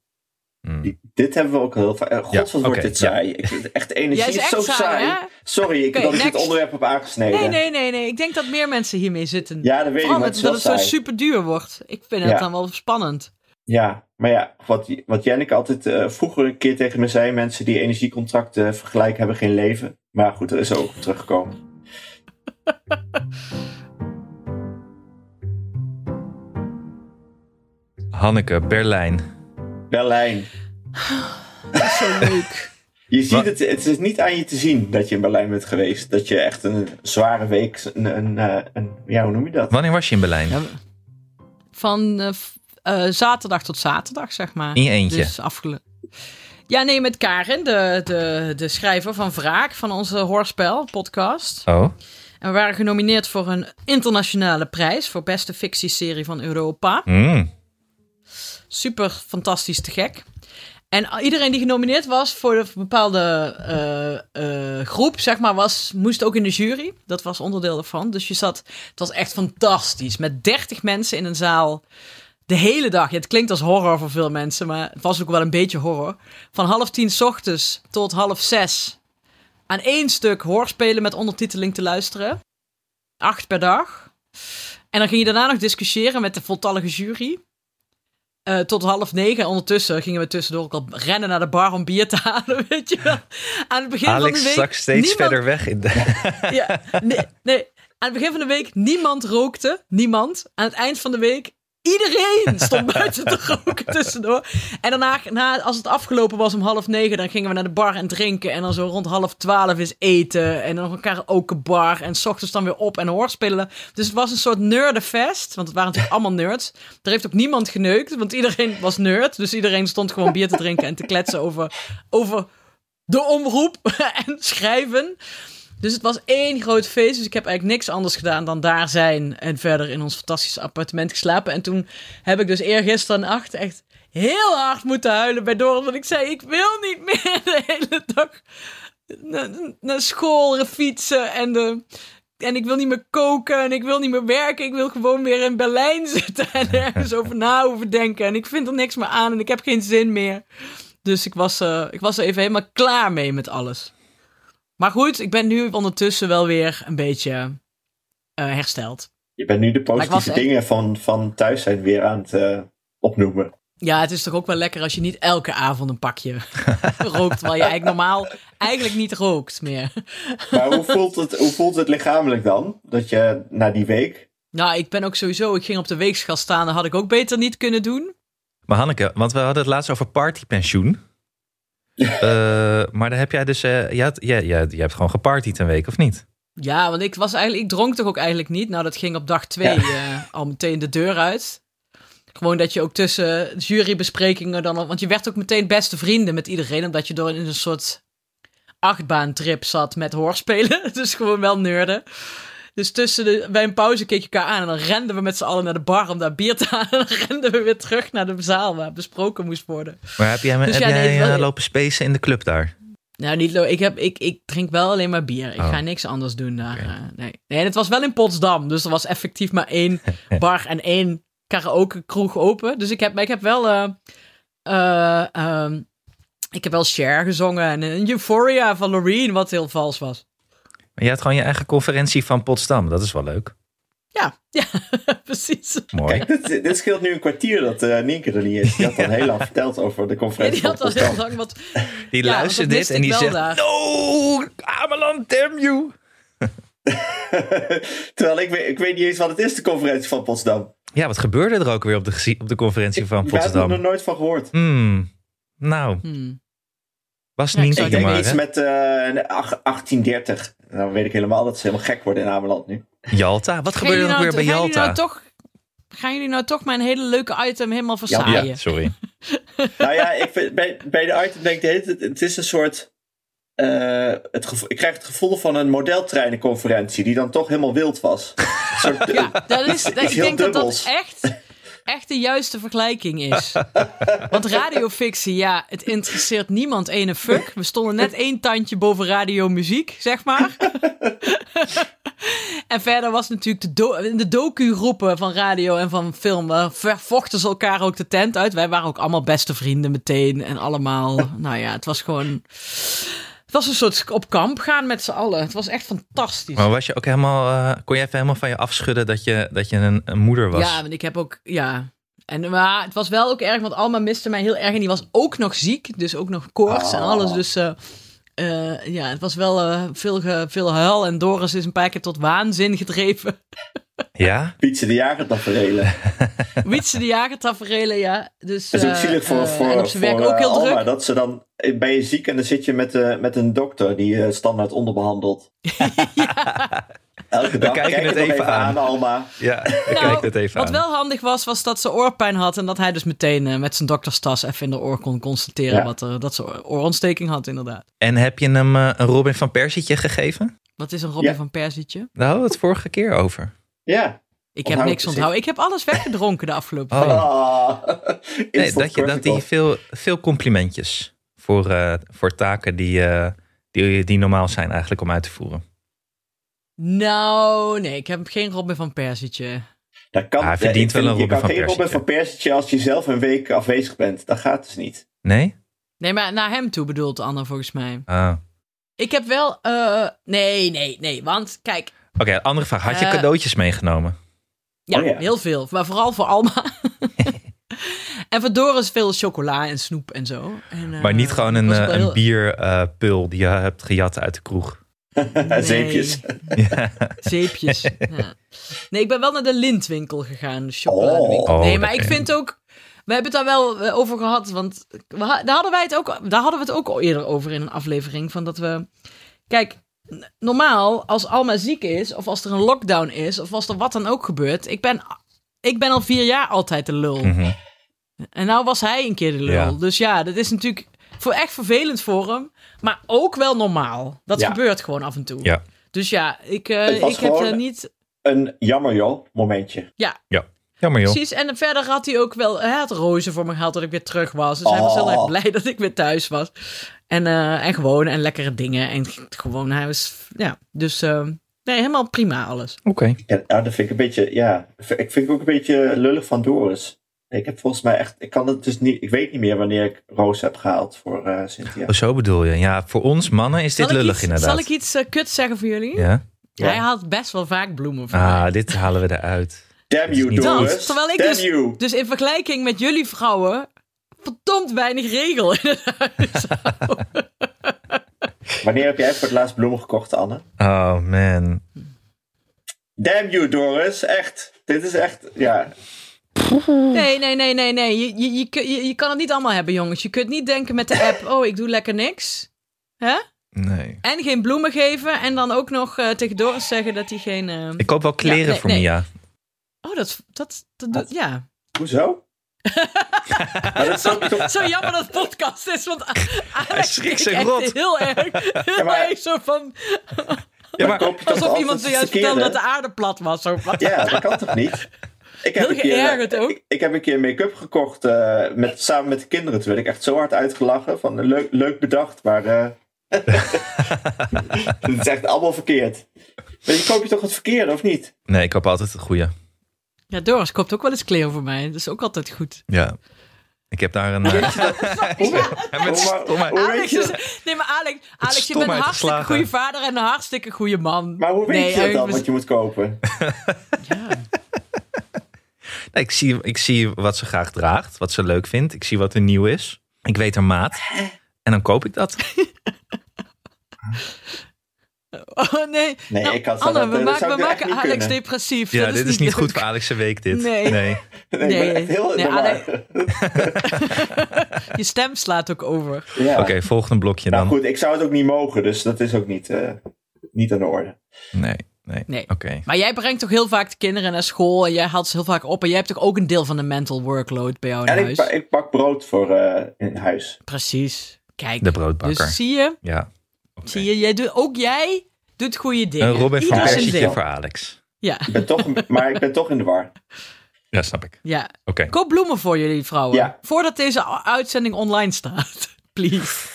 [SPEAKER 7] Hmm.
[SPEAKER 2] Die- Dit hebben we ook heel vaak. eh, God,
[SPEAKER 7] Ja,
[SPEAKER 2] wat wordt
[SPEAKER 7] oké,
[SPEAKER 2] dit
[SPEAKER 7] ja.
[SPEAKER 2] saai. Ik vind het echt energie
[SPEAKER 4] Jij is echt
[SPEAKER 2] zo
[SPEAKER 4] saai, hè?
[SPEAKER 2] Sorry, ik,
[SPEAKER 4] Oké,
[SPEAKER 2] dat ik dit
[SPEAKER 4] next.
[SPEAKER 2] onderwerp heb aangesneden.
[SPEAKER 4] Nee, nee, nee, nee. Ik denk dat meer mensen hiermee zitten.
[SPEAKER 2] Ja, dat weet ik,
[SPEAKER 4] Vooral
[SPEAKER 2] maar
[SPEAKER 4] met-
[SPEAKER 2] het is
[SPEAKER 4] dat
[SPEAKER 2] wel
[SPEAKER 4] het zo
[SPEAKER 2] saai.
[SPEAKER 4] super duur wordt. Ik vind het
[SPEAKER 2] Ja.
[SPEAKER 4] dan wel spannend.
[SPEAKER 2] Ja, maar ja, wat, wat Janneke altijd eh, vroeger een keer tegen me zei: mensen die energiecontracten eh, vergelijken hebben geen leven. Maar goed, daar is ze ook op teruggekomen.
[SPEAKER 7] Hanneke, Berlijn.
[SPEAKER 2] Berlijn.
[SPEAKER 4] Dat is zo leuk.
[SPEAKER 2] Je ziet
[SPEAKER 7] Wat-
[SPEAKER 2] het, het is niet aan je te zien dat je in Berlijn bent geweest. Dat je echt een zware week, een, een, eh, een- ja, hoe noem je dat?
[SPEAKER 7] Wanneer was je in Berlijn?
[SPEAKER 4] Ja, we- van eh, f- eh, zaterdag tot zaterdag, zeg maar.
[SPEAKER 7] In je eentje?
[SPEAKER 4] Dus afgele... Ja, nee, met Karin, de, de, de schrijver van Wraak, van onze Hoorspel-podcast.
[SPEAKER 7] Oh,
[SPEAKER 4] En we waren genomineerd voor een internationale prijs voor beste fictieserie van Europa.
[SPEAKER 7] mm.
[SPEAKER 4] Super fantastisch te gek. En iedereen die genomineerd was voor een bepaalde eh, eh, groep, zeg maar, was, moest ook in de jury. Dat was onderdeel ervan. Dus je zat, het was echt fantastisch. Met 30 mensen in een zaal. De hele dag. Ja, het klinkt als horror voor veel mensen, maar het was ook wel een beetje horror. Van half tien 's ochtends tot half zes. Aan één stuk hoorspelen met ondertiteling te luisteren. Acht per dag. En dan ging je daarna nog discussiëren met de voltallige jury. Eh, tot half negen. En Ondertussen gingen we tussendoor ook al rennen naar de bar om bier te halen, weet je wel. Aan het begin van de
[SPEAKER 7] Alex
[SPEAKER 4] week...
[SPEAKER 7] stak steeds
[SPEAKER 4] niemand-
[SPEAKER 7] verder weg. In de...
[SPEAKER 4] ja, nee, nee. Aan het begin van de week niemand rookte. Niemand. Aan het eind van de week iedereen stond buiten te roken tussendoor. En daarna, na, als het afgelopen was om half negen, dan gingen we naar de bar en drinken. En dan zo rond half twaalf is eten. En dan nog elkaar ook een bar. En s ochtends dan weer op en hoorspelen. Dus het was een soort nerdenfest. Want het waren natuurlijk allemaal nerds. Er heeft ook niemand geneukt, want iedereen was nerd. Dus iedereen stond gewoon bier te drinken en te kletsen over... over de omroep en schrijven. Dus het was één groot feest. Dus ik heb eigenlijk niks anders gedaan dan daar zijn en verder in ons fantastische appartement geslapen. En toen heb ik dus eergisteren nacht echt heel hard moeten huilen bij Doris. Want ik zei, ik wil niet meer de hele dag na- na- naar school fietsen en de... En ik wil niet meer koken en ik wil niet meer werken. Ik wil gewoon weer in Berlijn zitten en ergens over na hoeven denken. En ik vind er niks meer aan en ik heb geen zin meer. Dus ik was, eh, ik was er even helemaal klaar mee met alles. Maar goed, ik ben nu ondertussen wel weer een beetje eh, hersteld.
[SPEAKER 2] Je bent nu de
[SPEAKER 4] ik was
[SPEAKER 2] positieve
[SPEAKER 4] echt-
[SPEAKER 2] dingen van, van thuis zijn weer aan het eh, opnoemen.
[SPEAKER 4] Ja, het is toch ook wel lekker als je niet elke avond een pakje rookt. Terwijl je eigenlijk normaal eigenlijk niet rookt meer.
[SPEAKER 2] Maar hoe voelt, het, hoe voelt het lichamelijk dan? Dat je na die week.
[SPEAKER 4] Nou, ik ben ook sowieso, ik ging op de weegschaal staan. Dat had ik ook beter niet kunnen doen.
[SPEAKER 7] Maar Hanneke, want we hadden het laatst over partypensioen. Eh, maar dan heb jij dus... eh, je, had, je, je, je hebt gewoon gepartied een week, of niet?
[SPEAKER 4] Ja, want ik was eigenlijk, ik dronk toch ook eigenlijk niet. Nou, dat ging op dag twee eh, al meteen de deur uit. Gewoon dat je ook tussen jurybesprekingen dan, al- want je werd ook meteen beste vrienden met iedereen, omdat je door in een soort achtbaantrip zat met hoorspelen. Dus gewoon wel nerden. Dus tussen de, bij een pauze keek je elkaar aan en dan renden we met z'n allen naar de bar om daar bier te halen. En dan renden we weer terug naar de zaal waar besproken moest worden.
[SPEAKER 7] Maar heb jij,
[SPEAKER 4] Dus
[SPEAKER 7] heb
[SPEAKER 4] ja, nee,
[SPEAKER 7] jij
[SPEAKER 4] het wel-
[SPEAKER 7] eh, lopen spacen in de club daar?
[SPEAKER 4] Nou, niet lo ik, heb, ik, ik drink wel alleen maar bier. Ik
[SPEAKER 7] Oh.
[SPEAKER 4] ga niks anders doen daar.
[SPEAKER 7] Oké.
[SPEAKER 4] eh, nee. nee, en het was wel in Potsdam. Dus er was effectief maar één bar en één karaoke kroeg open. Dus ik heb, maar ik heb wel... eh, eh, ehm, ik heb wel Cher gezongen en een Euphoria van Loreen, wat heel vals was.
[SPEAKER 7] Maar je had gewoon je eigen conferentie van Potsdam. Dat is wel leuk.
[SPEAKER 4] Ja, ja precies.
[SPEAKER 7] Mooi.
[SPEAKER 2] Kijk, dit, dit scheelt nu een kwartier dat eh Nienke er niet is. Die had al heel lang verteld over de
[SPEAKER 4] Ja,
[SPEAKER 2] conferentie.
[SPEAKER 4] die had
[SPEAKER 2] van
[SPEAKER 4] al heel
[SPEAKER 2] Potsdam.
[SPEAKER 4] lang wat...
[SPEAKER 7] Die
[SPEAKER 4] Ja,
[SPEAKER 7] luistert
[SPEAKER 4] want dat
[SPEAKER 7] dit
[SPEAKER 4] miste
[SPEAKER 7] en die
[SPEAKER 4] ik wel
[SPEAKER 7] zegt...
[SPEAKER 4] daar.
[SPEAKER 7] No, Ameland, damn you.
[SPEAKER 2] Terwijl ik, weet- ik weet niet eens wat het is, de conferentie van Potsdam.
[SPEAKER 7] Ja, wat gebeurde er ook weer op de, gezi- op de conferentie van
[SPEAKER 2] Ik heb er nog
[SPEAKER 7] Potsdam?
[SPEAKER 2] nooit van gehoord.
[SPEAKER 7] Hmm, nou,
[SPEAKER 4] Hmm.
[SPEAKER 7] was
[SPEAKER 4] Ja, ik
[SPEAKER 7] niet
[SPEAKER 4] zou
[SPEAKER 2] Ik
[SPEAKER 7] zeker
[SPEAKER 2] denk
[SPEAKER 7] maar.
[SPEAKER 2] iets
[SPEAKER 7] hè?
[SPEAKER 2] met eh, ach- 1830. Dan weet ik helemaal dat ze helemaal gek worden in Ameland nu.
[SPEAKER 7] Jalta? Wat gebeurde er ook weer bij
[SPEAKER 4] gaan jullie
[SPEAKER 7] Jalta?
[SPEAKER 4] nou toch... Gaan jullie nou toch mijn hele leuke item helemaal versaaien?
[SPEAKER 7] ja, sorry.
[SPEAKER 2] nou ja, ik vind, bij, bij de item denk ik de hele tijd, het is een soort... eh, het gevo- ik krijg het gevoel van een modeltreinenconferentie die dan toch helemaal wild was. Een soort,
[SPEAKER 4] Ja, dat is, dat- ik
[SPEAKER 2] heel
[SPEAKER 4] denk dat dat
[SPEAKER 2] dubbels.
[SPEAKER 4] echt, echt de juiste vergelijking is. Want radiofictie, ja, het interesseert niemand ene fuck. We stonden net één tandje boven radiomuziek, zeg maar. En verder was natuurlijk de, do in de docu-groepen van radio en van film. eh, ver- vochten ze elkaar ook de tent uit. Wij waren ook allemaal beste vrienden meteen. En allemaal, nou ja, het was gewoon... Het was een soort op kamp gaan met z'n allen. Het was echt fantastisch.
[SPEAKER 7] Maar was je ook helemaal, eh, kon je even helemaal van je afschudden dat je, dat je een, een moeder was?
[SPEAKER 4] Ja, want ik heb ook, ja. En, maar het was wel ook erg, want Alma miste mij heel erg. En die was ook nog ziek, dus ook nog koorts en
[SPEAKER 2] Oh.
[SPEAKER 4] alles. Dus eh, eh, ja, het was wel eh, veel, ge- veel huil. En Doris is een paar keer tot waanzin gedreven.
[SPEAKER 7] Ja?
[SPEAKER 2] Pietse de Jager tafereelen.
[SPEAKER 4] Wietse de jager tafereelen, ja. Dus,
[SPEAKER 2] Dat is ook
[SPEAKER 4] eh,
[SPEAKER 2] zielig voor,
[SPEAKER 4] eh,
[SPEAKER 2] voor,
[SPEAKER 4] en op zijn werk
[SPEAKER 2] voor,
[SPEAKER 4] ook
[SPEAKER 2] eh,
[SPEAKER 4] heel druk.
[SPEAKER 2] Alma, dat ze dan... eh, Ben je ziek en dan zit je met, eh, met een dokter die je standaard onderbehandelt. Elke dag
[SPEAKER 7] kijken
[SPEAKER 2] kijk
[SPEAKER 7] het
[SPEAKER 2] nog
[SPEAKER 7] even aan.
[SPEAKER 2] Alma.
[SPEAKER 7] Ja, ik
[SPEAKER 4] Nou,
[SPEAKER 7] kijk dit even
[SPEAKER 4] Wat
[SPEAKER 7] aan.
[SPEAKER 4] wel handig was, was dat ze oorpijn had. En dat hij dus meteen eh, met zijn dokterstas even in de oor kon constateren
[SPEAKER 2] Ja.
[SPEAKER 4] wat er, dat ze oorontsteking had, inderdaad.
[SPEAKER 7] En heb je hem eh, een Robin van Persietje gegeven?
[SPEAKER 4] Wat is een Robin
[SPEAKER 2] Ja.
[SPEAKER 4] van Persietje?
[SPEAKER 7] Daar hadden we het vorige keer over.
[SPEAKER 2] Ja.
[SPEAKER 4] Ik
[SPEAKER 2] Onthoud
[SPEAKER 4] heb niks
[SPEAKER 2] nou, het,
[SPEAKER 4] onthouden. Ik heb alles weggedronken de afgelopen
[SPEAKER 7] Oh.
[SPEAKER 4] week.
[SPEAKER 2] Ah.
[SPEAKER 7] Nee,
[SPEAKER 2] Instant
[SPEAKER 7] dat, je, dat die
[SPEAKER 2] protocol.
[SPEAKER 7] veel, veel complimentjes voor, eh, voor taken die, eh, die, die normaal zijn eigenlijk om uit te voeren.
[SPEAKER 4] Nou, nee, ik heb geen Robin van Persietje.
[SPEAKER 2] Dat kan,
[SPEAKER 7] Ah, hij
[SPEAKER 2] ik
[SPEAKER 7] verdient wel
[SPEAKER 2] vind-
[SPEAKER 7] een Robin
[SPEAKER 2] Je
[SPEAKER 7] van
[SPEAKER 2] kan geen Robin
[SPEAKER 7] Persietje.
[SPEAKER 2] van Persietje als je zelf een week afwezig bent. Dat gaat dus niet.
[SPEAKER 7] Nee?
[SPEAKER 4] Nee, maar naar hem toe bedoelt Anna volgens mij.
[SPEAKER 7] Ah.
[SPEAKER 4] Ik heb wel. eh, nee, nee, nee. Want kijk,
[SPEAKER 7] Oké, andere vraag. Had je
[SPEAKER 4] Eh,
[SPEAKER 7] cadeautjes meegenomen?
[SPEAKER 4] ja,
[SPEAKER 2] Oh ja.
[SPEAKER 4] heel veel. Maar vooral voor Alma. en voor Doris veel chocola en snoep en zo. En, eh,
[SPEAKER 7] maar niet gewoon een,
[SPEAKER 4] was ook
[SPEAKER 7] eh,
[SPEAKER 4] wel
[SPEAKER 7] een
[SPEAKER 4] heel-
[SPEAKER 7] bierpul eh, die je hebt gejat uit de kroeg.
[SPEAKER 4] Nee.
[SPEAKER 2] Zeepjes.
[SPEAKER 7] Ja.
[SPEAKER 4] Zeepjes. ja. Nee, ik ben wel naar de lintwinkel gegaan, de chocoladewinkel.
[SPEAKER 7] Oh.
[SPEAKER 4] nee,
[SPEAKER 7] Oh,
[SPEAKER 4] maar
[SPEAKER 7] dat
[SPEAKER 4] ik
[SPEAKER 7] ken
[SPEAKER 4] vind ook. We hebben het daar wel eh, over gehad, want we ha- daar hadden, wij het ook, daar hadden we het ook al eerder over in een aflevering. Van dat we. Kijk, n- normaal, als Alma ziek is, of als er een lockdown is, of als er wat dan ook gebeurt. Ik ben, ik ben al vier jaar altijd de lul.
[SPEAKER 7] Mhm.
[SPEAKER 4] En nou was hij een keer de lul.
[SPEAKER 7] Ja.
[SPEAKER 4] Dus ja, dat is natuurlijk voor echt vervelend voor hem. Maar ook wel normaal. Dat
[SPEAKER 2] Ja.
[SPEAKER 4] gebeurt gewoon af en toe.
[SPEAKER 7] Ja.
[SPEAKER 4] Dus ja, ik, eh,
[SPEAKER 2] Het was
[SPEAKER 4] ik heb
[SPEAKER 2] gewoon-
[SPEAKER 4] er niet...
[SPEAKER 2] Een jammer joh, momentje.
[SPEAKER 7] Jammer joh.
[SPEAKER 4] Precies, en verder had hij ook wel... Hij had rozen voor me gehaald dat ik weer terug was. Dus hij was heel
[SPEAKER 2] Oh.
[SPEAKER 4] erg blij dat ik weer thuis was. En, eh, en gewoon, en lekkere dingen. En gewoon, hij was... Ja, dus... eh, nee, helemaal prima alles.
[SPEAKER 7] Oké.
[SPEAKER 2] Ja, nou, dat vind ik een beetje, ja. v- Ik vind het ook een beetje lullig van Doris. Ik heb volgens mij echt, ik kan het dus niet, ik weet niet meer wanneer ik Roos heb gehaald voor eh, Cynthia.
[SPEAKER 7] Oh, zo bedoel je. Ja, voor ons mannen is dit
[SPEAKER 4] Zal ik
[SPEAKER 7] lullig
[SPEAKER 4] iets-
[SPEAKER 7] inderdaad.
[SPEAKER 4] Zal ik iets kut kuts zeggen voor jullie?
[SPEAKER 7] Ja?
[SPEAKER 2] Ja.
[SPEAKER 4] Hij had best wel vaak bloemen voor mij.
[SPEAKER 7] Ah, dit halen we eruit.
[SPEAKER 2] Damn you,
[SPEAKER 7] Dat,
[SPEAKER 2] Doris.
[SPEAKER 4] terwijl ik
[SPEAKER 2] Damn
[SPEAKER 4] dus-
[SPEAKER 2] you.
[SPEAKER 4] Dus in vergelijking met jullie vrouwen, verdomd weinig regel in het huis.
[SPEAKER 2] Wanneer heb jij voor het laatst bloemen gekocht, Anne?
[SPEAKER 7] Oh man.
[SPEAKER 2] Damn you, Doris. Echt. Dit is echt, ja.
[SPEAKER 4] Nee, nee, nee, nee, nee. Je, je, je, kun- je, je kan het niet allemaal hebben, jongens. Je kunt niet denken met de app, oh, ik doe lekker niks. Hè?
[SPEAKER 7] Nee.
[SPEAKER 4] En geen bloemen geven en dan ook nog eh, tegen Doris zeggen dat hij geen... eh,
[SPEAKER 7] Ik koop wel kleren
[SPEAKER 4] Ja, nee,
[SPEAKER 7] voor
[SPEAKER 4] nee.
[SPEAKER 7] Mia.
[SPEAKER 4] Oh, dat... dat, dat,
[SPEAKER 2] Ah.
[SPEAKER 4] doet- ja.
[SPEAKER 2] Hoezo? maar dat is ook toch-
[SPEAKER 4] Zo jammer dat het podcast is, want A-
[SPEAKER 7] Hij
[SPEAKER 4] Alex schrikt
[SPEAKER 7] schrikt zich
[SPEAKER 4] echt
[SPEAKER 7] rot.
[SPEAKER 4] heel erg. Heel
[SPEAKER 2] Ja, maar-
[SPEAKER 4] erg zo van...
[SPEAKER 7] Ja, maar,
[SPEAKER 2] koop je toch
[SPEAKER 4] Alsof
[SPEAKER 2] altijd
[SPEAKER 4] iemand
[SPEAKER 2] het
[SPEAKER 4] zojuist vertelde dat
[SPEAKER 2] verkeerde?
[SPEAKER 4] de aarde plat was. Zo van.
[SPEAKER 2] Ja, dat kan toch niet? Ik heb
[SPEAKER 4] Heel
[SPEAKER 2] een keer- eh,
[SPEAKER 4] geërgerd ook.
[SPEAKER 2] Ik, ik heb een keer make-up gekocht eh, met, samen met de kinderen. Toen werd ik echt zo hard uitgelachen. Van, eh, leuk, leuk bedacht, maar... eh Het is echt allemaal verkeerd. Maar je koop je toch het verkeerde, of niet?
[SPEAKER 7] Nee, ik koop altijd het goede.
[SPEAKER 4] Ja, Doris koopt ook wel eens kleren voor mij. Dat is ook altijd goed.
[SPEAKER 7] Ja. Ik heb daar een... eh, Ja, met
[SPEAKER 2] Hoe-
[SPEAKER 7] stomme-
[SPEAKER 2] hoe weet
[SPEAKER 4] Alex
[SPEAKER 2] je-
[SPEAKER 4] is, nee, maar Alex, Alex je
[SPEAKER 7] stom
[SPEAKER 4] bent een
[SPEAKER 7] uitgeslagen.
[SPEAKER 4] hartstikke goede vader en een hartstikke goede man.
[SPEAKER 2] Maar hoe weet
[SPEAKER 4] Nee,
[SPEAKER 2] je
[SPEAKER 4] eh,
[SPEAKER 2] dan
[SPEAKER 4] mis-
[SPEAKER 2] wat je moet kopen?
[SPEAKER 7] Nee, ik, zie, ik zie wat ze graag draagt, wat ze leuk vindt. Ik zie wat er nieuw is. Ik weet haar maat. En dan koop ik dat.
[SPEAKER 4] Oh nee,
[SPEAKER 2] Nee,
[SPEAKER 4] Nou,
[SPEAKER 2] ik had
[SPEAKER 4] Anne,
[SPEAKER 2] dat, eh,
[SPEAKER 4] we,
[SPEAKER 2] dat
[SPEAKER 4] maken-
[SPEAKER 2] zou ik
[SPEAKER 4] we
[SPEAKER 2] echt
[SPEAKER 4] maken
[SPEAKER 2] niet
[SPEAKER 4] Alex
[SPEAKER 2] kunnen.
[SPEAKER 4] depressief.
[SPEAKER 7] Ja,
[SPEAKER 4] dat
[SPEAKER 7] dit is niet
[SPEAKER 4] leuk.
[SPEAKER 7] goed voor Alex, ze weet dit.
[SPEAKER 4] Nee.
[SPEAKER 2] Nee, ik ben
[SPEAKER 4] Nee.
[SPEAKER 2] echt heel in
[SPEAKER 4] Nee,
[SPEAKER 2] de war.
[SPEAKER 4] Alex- Je stem slaat ook over.
[SPEAKER 2] Ja.
[SPEAKER 7] Oké, volgende blokje
[SPEAKER 2] Nou
[SPEAKER 7] dan.
[SPEAKER 2] goed, ik zou het ook niet mogen, dus dat is ook niet, eh, niet aan de orde.
[SPEAKER 7] Nee, nee.
[SPEAKER 4] Nee.
[SPEAKER 7] Oké.
[SPEAKER 4] Maar jij brengt toch heel vaak de kinderen naar school en jij haalt ze heel vaak op. En jij hebt toch ook een deel van de mental workload bij jou in
[SPEAKER 2] En ik,
[SPEAKER 4] huis?
[SPEAKER 2] ba- ik bak brood voor eh, in huis.
[SPEAKER 4] Precies. Kijk,
[SPEAKER 7] De broodbakker.
[SPEAKER 4] dus zie je,
[SPEAKER 7] Ja. Oké.
[SPEAKER 4] zie je, jij doet, ook jij doet goede dingen.
[SPEAKER 7] Een Robin van
[SPEAKER 4] Ieder zijn
[SPEAKER 7] Persietje
[SPEAKER 4] deel.
[SPEAKER 7] voor Alex.
[SPEAKER 4] Ja,
[SPEAKER 2] Ik ben toch, maar ik ben toch in de war.
[SPEAKER 7] Ja, snap ik.
[SPEAKER 4] ja.
[SPEAKER 7] Oké.
[SPEAKER 4] Koop bloemen voor jullie vrouwen.
[SPEAKER 2] Ja.
[SPEAKER 4] Voordat deze a- uitzending online staat. Please.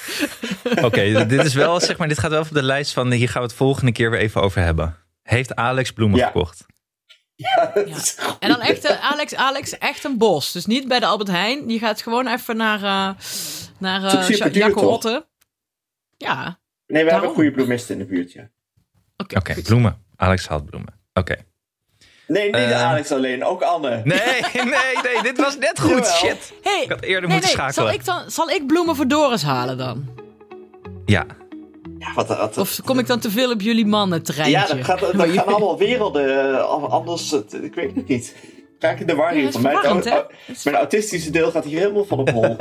[SPEAKER 7] Oké, dit is wel, zeg maar, dit gaat wel op de lijst van hier gaan we het volgende keer weer even over hebben. Heeft Alex bloemen
[SPEAKER 2] Ja.
[SPEAKER 7] gekocht?
[SPEAKER 4] Ja. En dan echt, eh, Alex, Alex, echt een bos. Dus niet bij de Albert Heijn. Die gaat gewoon even naar, eh naar
[SPEAKER 2] Het is ook
[SPEAKER 4] eh
[SPEAKER 2] super
[SPEAKER 4] Ja-
[SPEAKER 2] duur,
[SPEAKER 4] Jacco
[SPEAKER 2] toch?
[SPEAKER 4] Otte. Ja,
[SPEAKER 2] Nee, we hebben
[SPEAKER 4] Daarom.
[SPEAKER 2] een goede bloemisten in de buurt, ja.
[SPEAKER 4] oké.
[SPEAKER 7] Oké,
[SPEAKER 4] goed.
[SPEAKER 7] bloemen. Alex haalt bloemen. Oké.
[SPEAKER 2] Nee, niet
[SPEAKER 7] Eh.
[SPEAKER 2] Alex alleen, ook Anne.
[SPEAKER 7] Nee, nee, nee, dit was net goed.
[SPEAKER 2] Jawel.
[SPEAKER 7] Shit.
[SPEAKER 4] Hey,
[SPEAKER 7] Ik had eerder
[SPEAKER 4] nee,
[SPEAKER 7] moeten
[SPEAKER 4] nee,
[SPEAKER 7] schakelen.
[SPEAKER 4] Zal ik, dan, zal ik bloemen voor Doris halen dan?
[SPEAKER 7] Ja,
[SPEAKER 2] Wat, wat-
[SPEAKER 4] Of kom ik dan te veel op jullie mannen treintje?
[SPEAKER 2] ja, dat, gaat, dat gaan allemaal werelden. eh, al- Anders, het- ik weet het niet. Raak in de war
[SPEAKER 4] Ja,
[SPEAKER 2] hier.
[SPEAKER 4] het is
[SPEAKER 2] mijn,
[SPEAKER 4] verwarrend, hè?
[SPEAKER 2] au- oh, mijn autistische deel gaat hier helemaal van op hol.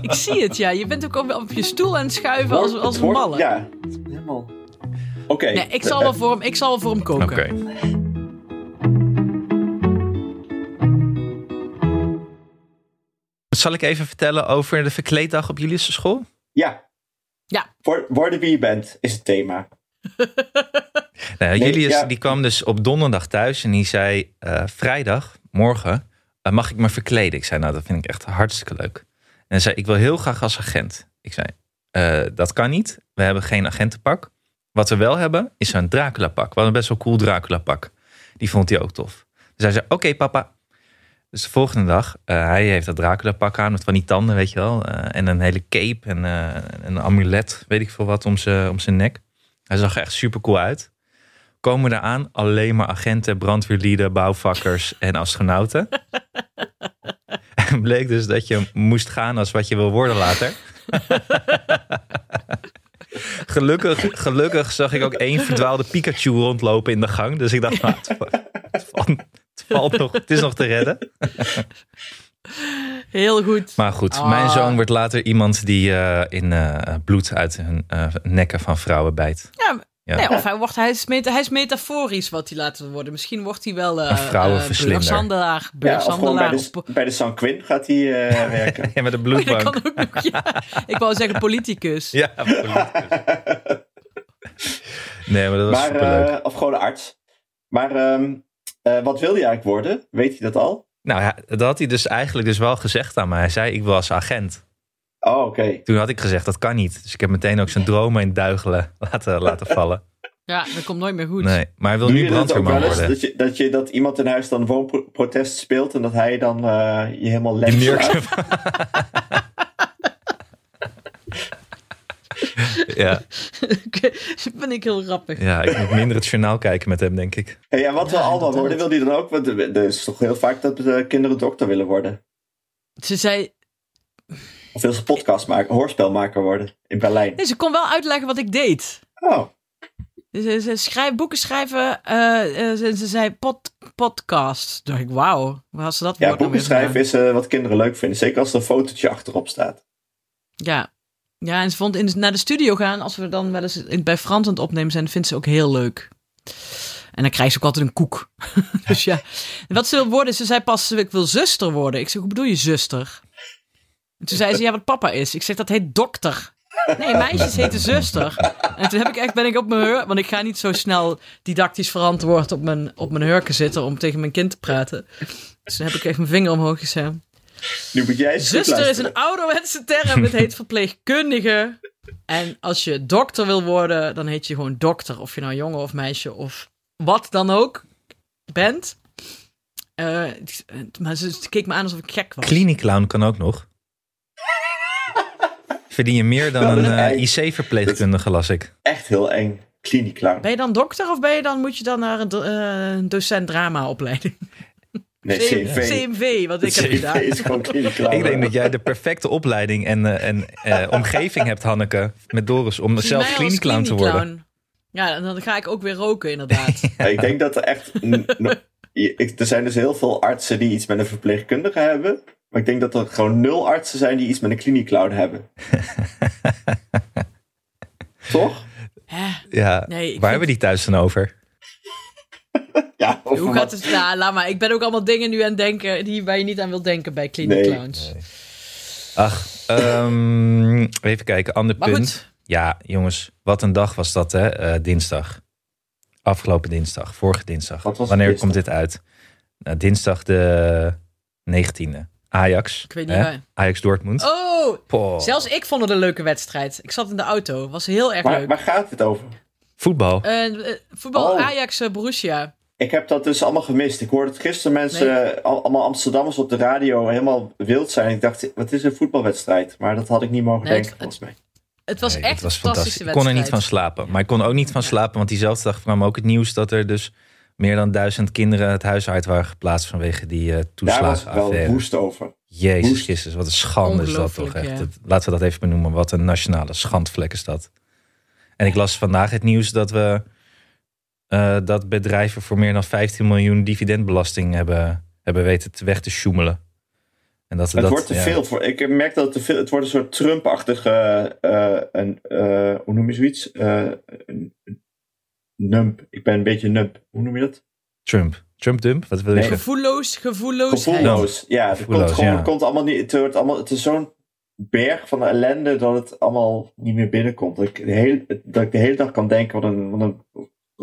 [SPEAKER 4] Ik zie het, ja. Je bent ook op, op je stoel aan het schuiven als,
[SPEAKER 2] Het
[SPEAKER 4] als een
[SPEAKER 2] wordt-
[SPEAKER 4] malle.
[SPEAKER 2] Ja, helemaal. Oké.
[SPEAKER 4] Nee, ik zal wel voor hem, ik zal wel voor hem koken.
[SPEAKER 7] oké. Zal ik even vertellen over de verkleeddag op Julius' school?
[SPEAKER 2] Ja.
[SPEAKER 4] Ja.
[SPEAKER 2] Wor- Worden wie je bent, is het thema.
[SPEAKER 7] Nou,
[SPEAKER 2] Nee,
[SPEAKER 7] Julius
[SPEAKER 2] ja.
[SPEAKER 7] die kwam dus op donderdag thuis en die zei: eh, Vrijdag, morgen, eh, mag ik me verkleden? Ik zei: Nou, dat vind ik echt hartstikke leuk. En hij zei: Ik wil heel graag als agent. Ik zei: "Eh, Dat kan niet. We hebben geen agentenpak. Wat we wel hebben, is een Dracula-pak. We hadden best wel cool Dracula-pak. Die vond hij ook tof. Dus hij zei: Oké, papa. Dus de volgende dag, eh, hij heeft dat Dracula-pak aan met van die tanden, weet je wel. eh, en een hele cape en eh, een amulet, weet ik veel wat, om zijn om zijn nek. Hij zag er echt super cool uit komen eraan alleen maar agenten, brandweerlieden, bouwvakkers en astronauten. en bleek dus dat je moest gaan als wat je wil worden later. gelukkig, gelukkig zag ik ook één verdwaalde Pikachu rondlopen in de gang. Dus ik dacht, nou, het, va- het valt, het valt nog, het is nog te redden.
[SPEAKER 4] Heel goed.
[SPEAKER 7] Maar goed,
[SPEAKER 4] Ah.
[SPEAKER 7] mijn zoon wordt later iemand die eh, in eh, bloed uit hun eh, nekken van vrouwen bijt.
[SPEAKER 4] Ja,
[SPEAKER 7] Ja.
[SPEAKER 4] nee, of hij, wordt, hij, is meta- hij is metaforisch wat hij laat worden. Misschien wordt hij wel eh
[SPEAKER 7] Een vrouwenverslinder.
[SPEAKER 4] burgshandelaar.
[SPEAKER 2] Ja, of gewoon bij
[SPEAKER 4] Burgshandelaar.
[SPEAKER 2] de,
[SPEAKER 4] of po-
[SPEAKER 2] bij de San Quinn gaat hij eh, werken.
[SPEAKER 7] Ja, met een
[SPEAKER 4] Oei, Oh, dat
[SPEAKER 7] bloedbank.
[SPEAKER 4] kan ook nog. Ja. Ik wou zeggen politicus.
[SPEAKER 7] Ja, politicus. Nee, maar dat was
[SPEAKER 2] maar,
[SPEAKER 7] superleuk.
[SPEAKER 2] eh, of gewoon een arts. Maar ehm, eh, wat wil je eigenlijk worden? Weet je dat al?
[SPEAKER 7] Nou ja, dat had hij dus eigenlijk dus wel gezegd aan mij. Hij zei, ik wil als agent.
[SPEAKER 2] Oh, oké.
[SPEAKER 7] Toen had ik gezegd, dat kan niet. Dus ik heb meteen ook zijn dromen in duigelen laten, laten vallen.
[SPEAKER 4] Ja, dat komt nooit meer goed.
[SPEAKER 7] Nee, maar hij wil
[SPEAKER 2] Doe
[SPEAKER 7] nu
[SPEAKER 2] je dat ook
[SPEAKER 7] brandweerman
[SPEAKER 2] wel eens?
[SPEAKER 7] worden.
[SPEAKER 2] Dat je, dat je dat iemand in huis dan woonprotest speelt en dat hij dan eh, je helemaal legt.
[SPEAKER 7] Nurkt. ja,
[SPEAKER 4] ben ik heel grappig.
[SPEAKER 7] ja, ik moet minder het journaal kijken met hem, denk ik.
[SPEAKER 2] Ja, ja, wat
[SPEAKER 4] Ja,
[SPEAKER 2] wil allemaal
[SPEAKER 4] inderdaad.
[SPEAKER 2] worden? Wil die dan ook? Want er er is toch heel vaak dat eh, kinderen dokter willen worden.
[SPEAKER 4] Ze zei...
[SPEAKER 2] Of wil ze podcast maken, hoorspelmaker worden in Berlijn.
[SPEAKER 4] Nee, ze kon wel uitleggen wat ik deed.
[SPEAKER 2] Oh,
[SPEAKER 4] Ze, ze, schrijf- boeken schrijven. eh, eh, ze, ze zei pod, podcast. Toen dacht ik, wauw. Waar had ze dat
[SPEAKER 2] ja,
[SPEAKER 4] woord nou
[SPEAKER 2] boeken
[SPEAKER 4] weer
[SPEAKER 2] schrijven
[SPEAKER 4] vandaan?
[SPEAKER 2] is eh, wat kinderen leuk vinden. Zeker als er een fotootje achterop staat.
[SPEAKER 4] Ja. Ja, en ze vond in, naar de studio gaan, als we dan wel eens in- bij Frans aan het opnemen zijn, vindt ze ook heel leuk. En dan krijgt ze ook altijd een koek. dus ja. En Wat ze wil worden, ze zei pas, ik wil zuster worden. Ik zeg, hoe bedoel je zuster? En toen zei ze, ja, wat papa is. Ik zeg, dat heet dokter. Nee, meisjes heten zuster. En toen heb ik echt, ben ik op mijn heur, want ik ga niet zo snel didactisch verantwoord op mijn, op mijn hurken zitten om tegen mijn kind te praten. Dus toen heb ik echt mijn vinger omhoog gezet.
[SPEAKER 2] Nu moet jij eens goed
[SPEAKER 4] Zuster is
[SPEAKER 2] luisteren.
[SPEAKER 4] een ouderwetse term. Het heet verpleegkundige. En als je dokter wil worden, dan heet je gewoon dokter. Of je nou jongen of meisje of wat dan ook bent. Eh, maar ze ze keek me aan alsof ik gek was.
[SPEAKER 7] Clinic clown kan ook nog. Verdien je meer dan
[SPEAKER 2] Dat
[SPEAKER 7] een eh,
[SPEAKER 2] is eng.
[SPEAKER 7] IC-verpleegkundige, las ik.
[SPEAKER 2] Echt heel eng. Klinieklang.
[SPEAKER 4] Ben je dan dokter of ben je dan, moet je dan naar een do- eh, een docent drama opleiding?
[SPEAKER 2] Nee, CV.
[SPEAKER 4] CMV, wat ik heb
[SPEAKER 2] CV
[SPEAKER 4] gedaan.
[SPEAKER 2] is gewoon klinieklang.
[SPEAKER 7] Ik denk dat jij de perfecte opleiding en, eh, en eh, omgeving hebt, Hanneke, met Doris, om
[SPEAKER 4] Zie
[SPEAKER 7] zelf
[SPEAKER 4] mij als
[SPEAKER 7] kliniek clown te worden.
[SPEAKER 4] kliniekclown. Ja, dan ga ik ook weer roken inderdaad.
[SPEAKER 2] Ik denk dat er echt... n- n- je- ik- Er zijn dus heel veel artsen die iets met een verpleegkundige hebben. Maar ik denk dat er gewoon nul artsen zijn die iets met een klinieklang hebben. Toch?
[SPEAKER 4] Hè?
[SPEAKER 7] Ja,
[SPEAKER 4] Nee, ik vind-
[SPEAKER 7] waar hebben we die thuis dan over?
[SPEAKER 2] Ja, of
[SPEAKER 4] Hoe
[SPEAKER 2] wat-
[SPEAKER 4] gaat het? Nou, laat maar. Ik ben ook allemaal dingen nu aan het denken die, waar je niet aan wilt denken bij Clinic
[SPEAKER 2] Nee.
[SPEAKER 4] Clowns.
[SPEAKER 7] Ach, ehm, even kijken, ander
[SPEAKER 4] Maar
[SPEAKER 7] punt.
[SPEAKER 4] goed.
[SPEAKER 7] Ja, jongens, wat een dag was dat, hè? eh, dinsdag. Afgelopen dinsdag, vorige dinsdag.
[SPEAKER 2] Wat was
[SPEAKER 7] Wanneer
[SPEAKER 2] het
[SPEAKER 7] komt dit uit? Nou, dinsdag de 19e. Ajax.
[SPEAKER 4] Ik weet niet
[SPEAKER 7] hè?
[SPEAKER 4] waar.
[SPEAKER 7] Ajax Dortmund.
[SPEAKER 4] Oh,
[SPEAKER 7] Poh.
[SPEAKER 4] zelfs ik vond het een leuke wedstrijd. Ik zat in de auto. Was heel erg
[SPEAKER 2] Waar,
[SPEAKER 4] leuk.
[SPEAKER 2] waar gaat het over?
[SPEAKER 7] Voetbal.
[SPEAKER 4] Eh, eh, voetbal
[SPEAKER 2] Oh.
[SPEAKER 4] Ajax eh, Borussia.
[SPEAKER 2] Ik heb dat dus allemaal gemist. Ik hoorde het gisteren mensen, eh, al- allemaal Amsterdammers op de radio, helemaal wild zijn. Ik dacht, wat is een voetbalwedstrijd? Maar dat had ik niet mogen
[SPEAKER 4] Nee,
[SPEAKER 2] denken,
[SPEAKER 4] het-
[SPEAKER 2] volgens mij.
[SPEAKER 4] Het was
[SPEAKER 7] Nee,
[SPEAKER 4] echt
[SPEAKER 7] dat was
[SPEAKER 4] een fantastische
[SPEAKER 7] Ik kon er
[SPEAKER 4] wedstrijd.
[SPEAKER 7] niet van slapen. Maar ik kon ook niet van slapen, want diezelfde dag kwam ook het nieuws dat er dus meer dan duizend kinderen het huis uit waren geplaatst vanwege die
[SPEAKER 2] Daar
[SPEAKER 7] eh
[SPEAKER 2] was ik wel
[SPEAKER 7] toeslagenaffaire.
[SPEAKER 2] woest over.
[SPEAKER 7] Jezus
[SPEAKER 2] woest.
[SPEAKER 7] Christus, wat een schande is dat toch
[SPEAKER 4] Ongelooflijk,
[SPEAKER 7] echt.
[SPEAKER 4] ja.
[SPEAKER 7] Dat- laten we dat even benoemen. Wat een nationale schandvlek is dat. En ik las vandaag het nieuws dat we eh, dat bedrijven voor meer dan 15 miljoen dividendbelasting hebben, hebben weten te weg te sjoemelen. En dat,
[SPEAKER 2] Het
[SPEAKER 7] dat,
[SPEAKER 2] wordt te
[SPEAKER 7] ja.
[SPEAKER 2] veel voor. Ik merk dat het te veel. Het wordt een soort Trump-achtige. eh, een, eh, hoe noem je zoiets? Eh, een- een nump. Ik ben een beetje nump. Hoe noem je dat?
[SPEAKER 7] Trump. Trump dump? Wat wil je
[SPEAKER 2] Nee.
[SPEAKER 7] zeggen?
[SPEAKER 4] Gevoelloos, gevoelloosheid.
[SPEAKER 2] Gevoelloos. Ja, het
[SPEAKER 7] Gevoelloos,
[SPEAKER 2] komt gewoon.
[SPEAKER 7] ja.
[SPEAKER 2] Het, komt allemaal niet, het, wordt allemaal, het is zo'n berg van ellende dat het allemaal niet meer binnenkomt. Dat ik de hele, dat ik de hele dag kan denken: wat een, wat een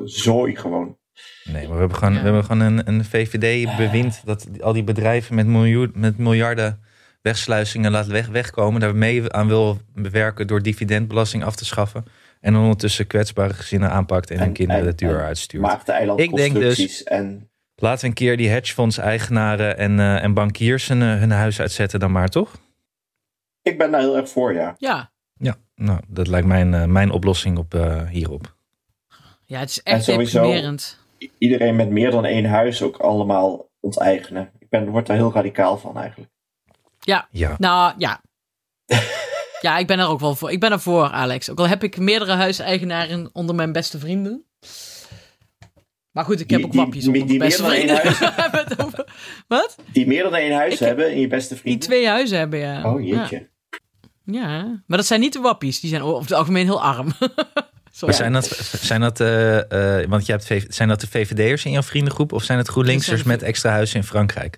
[SPEAKER 2] zooi gewoon.
[SPEAKER 7] Nee, maar we hebben gewoon,
[SPEAKER 4] Ja.
[SPEAKER 7] we hebben gewoon een, een VVD-bewind dat die- al die bedrijven met, miljoen, met miljarden wegsluisingen laat weg, wegkomen. Daar mee aan wil werken door dividendbelasting af te schaffen. En ondertussen kwetsbare gezinnen aanpakt en,
[SPEAKER 2] En-
[SPEAKER 7] hun kinderen
[SPEAKER 2] en-
[SPEAKER 7] de duur
[SPEAKER 2] en
[SPEAKER 7] uitstuurt.
[SPEAKER 2] Maakte
[SPEAKER 7] Ik denk dus-
[SPEAKER 2] eilandconstructies. En
[SPEAKER 7] Laten we een keer die hedgefonds-eigenaren en, eh, en bankiers hun, eh, hun huis uitzetten dan maar, toch?
[SPEAKER 2] ik ben daar heel erg voor, ja.
[SPEAKER 4] Ja.
[SPEAKER 7] Ja, nou, dat lijkt mijn, eh, mijn oplossing op, eh, hierop.
[SPEAKER 4] ja, het is echt
[SPEAKER 2] En sowieso-
[SPEAKER 4] deprimerend.
[SPEAKER 2] I- Iedereen met meer dan één huis ook allemaal onteigenen. Ik ben, word daar heel radicaal van eigenlijk.
[SPEAKER 7] Ja,
[SPEAKER 4] Nou, ja. ja, ik ben er ook wel voor. Ik ben er voor, Alex. Ook al heb ik meerdere huiseigenaren onder mijn beste vrienden. Maar goed, ik heb
[SPEAKER 2] Die-
[SPEAKER 4] ook
[SPEAKER 2] die-
[SPEAKER 4] wappies
[SPEAKER 2] die-
[SPEAKER 4] onder mijn
[SPEAKER 2] die
[SPEAKER 4] beste
[SPEAKER 2] meer dan
[SPEAKER 4] vrienden.
[SPEAKER 2] één
[SPEAKER 4] We hebben het over- Wat?
[SPEAKER 2] Die meer dan één huis
[SPEAKER 4] Ik-
[SPEAKER 2] hebben in je beste
[SPEAKER 4] Die
[SPEAKER 2] vrienden.
[SPEAKER 4] twee huizen hebben, ja.
[SPEAKER 2] Oh jeetje.
[SPEAKER 4] Ja. ja. Maar dat zijn niet de wappies. Die zijn over het algemeen heel arm.
[SPEAKER 7] maar
[SPEAKER 4] Sorry.
[SPEAKER 7] zijn dat, zijn dat, eh, eh, want jij hebt, V- zijn dat de VVD'ers in jouw vriendengroep of zijn het
[SPEAKER 4] Dat
[SPEAKER 7] GroenLinksers
[SPEAKER 4] zijn de
[SPEAKER 7] met extra huizen in Frankrijk?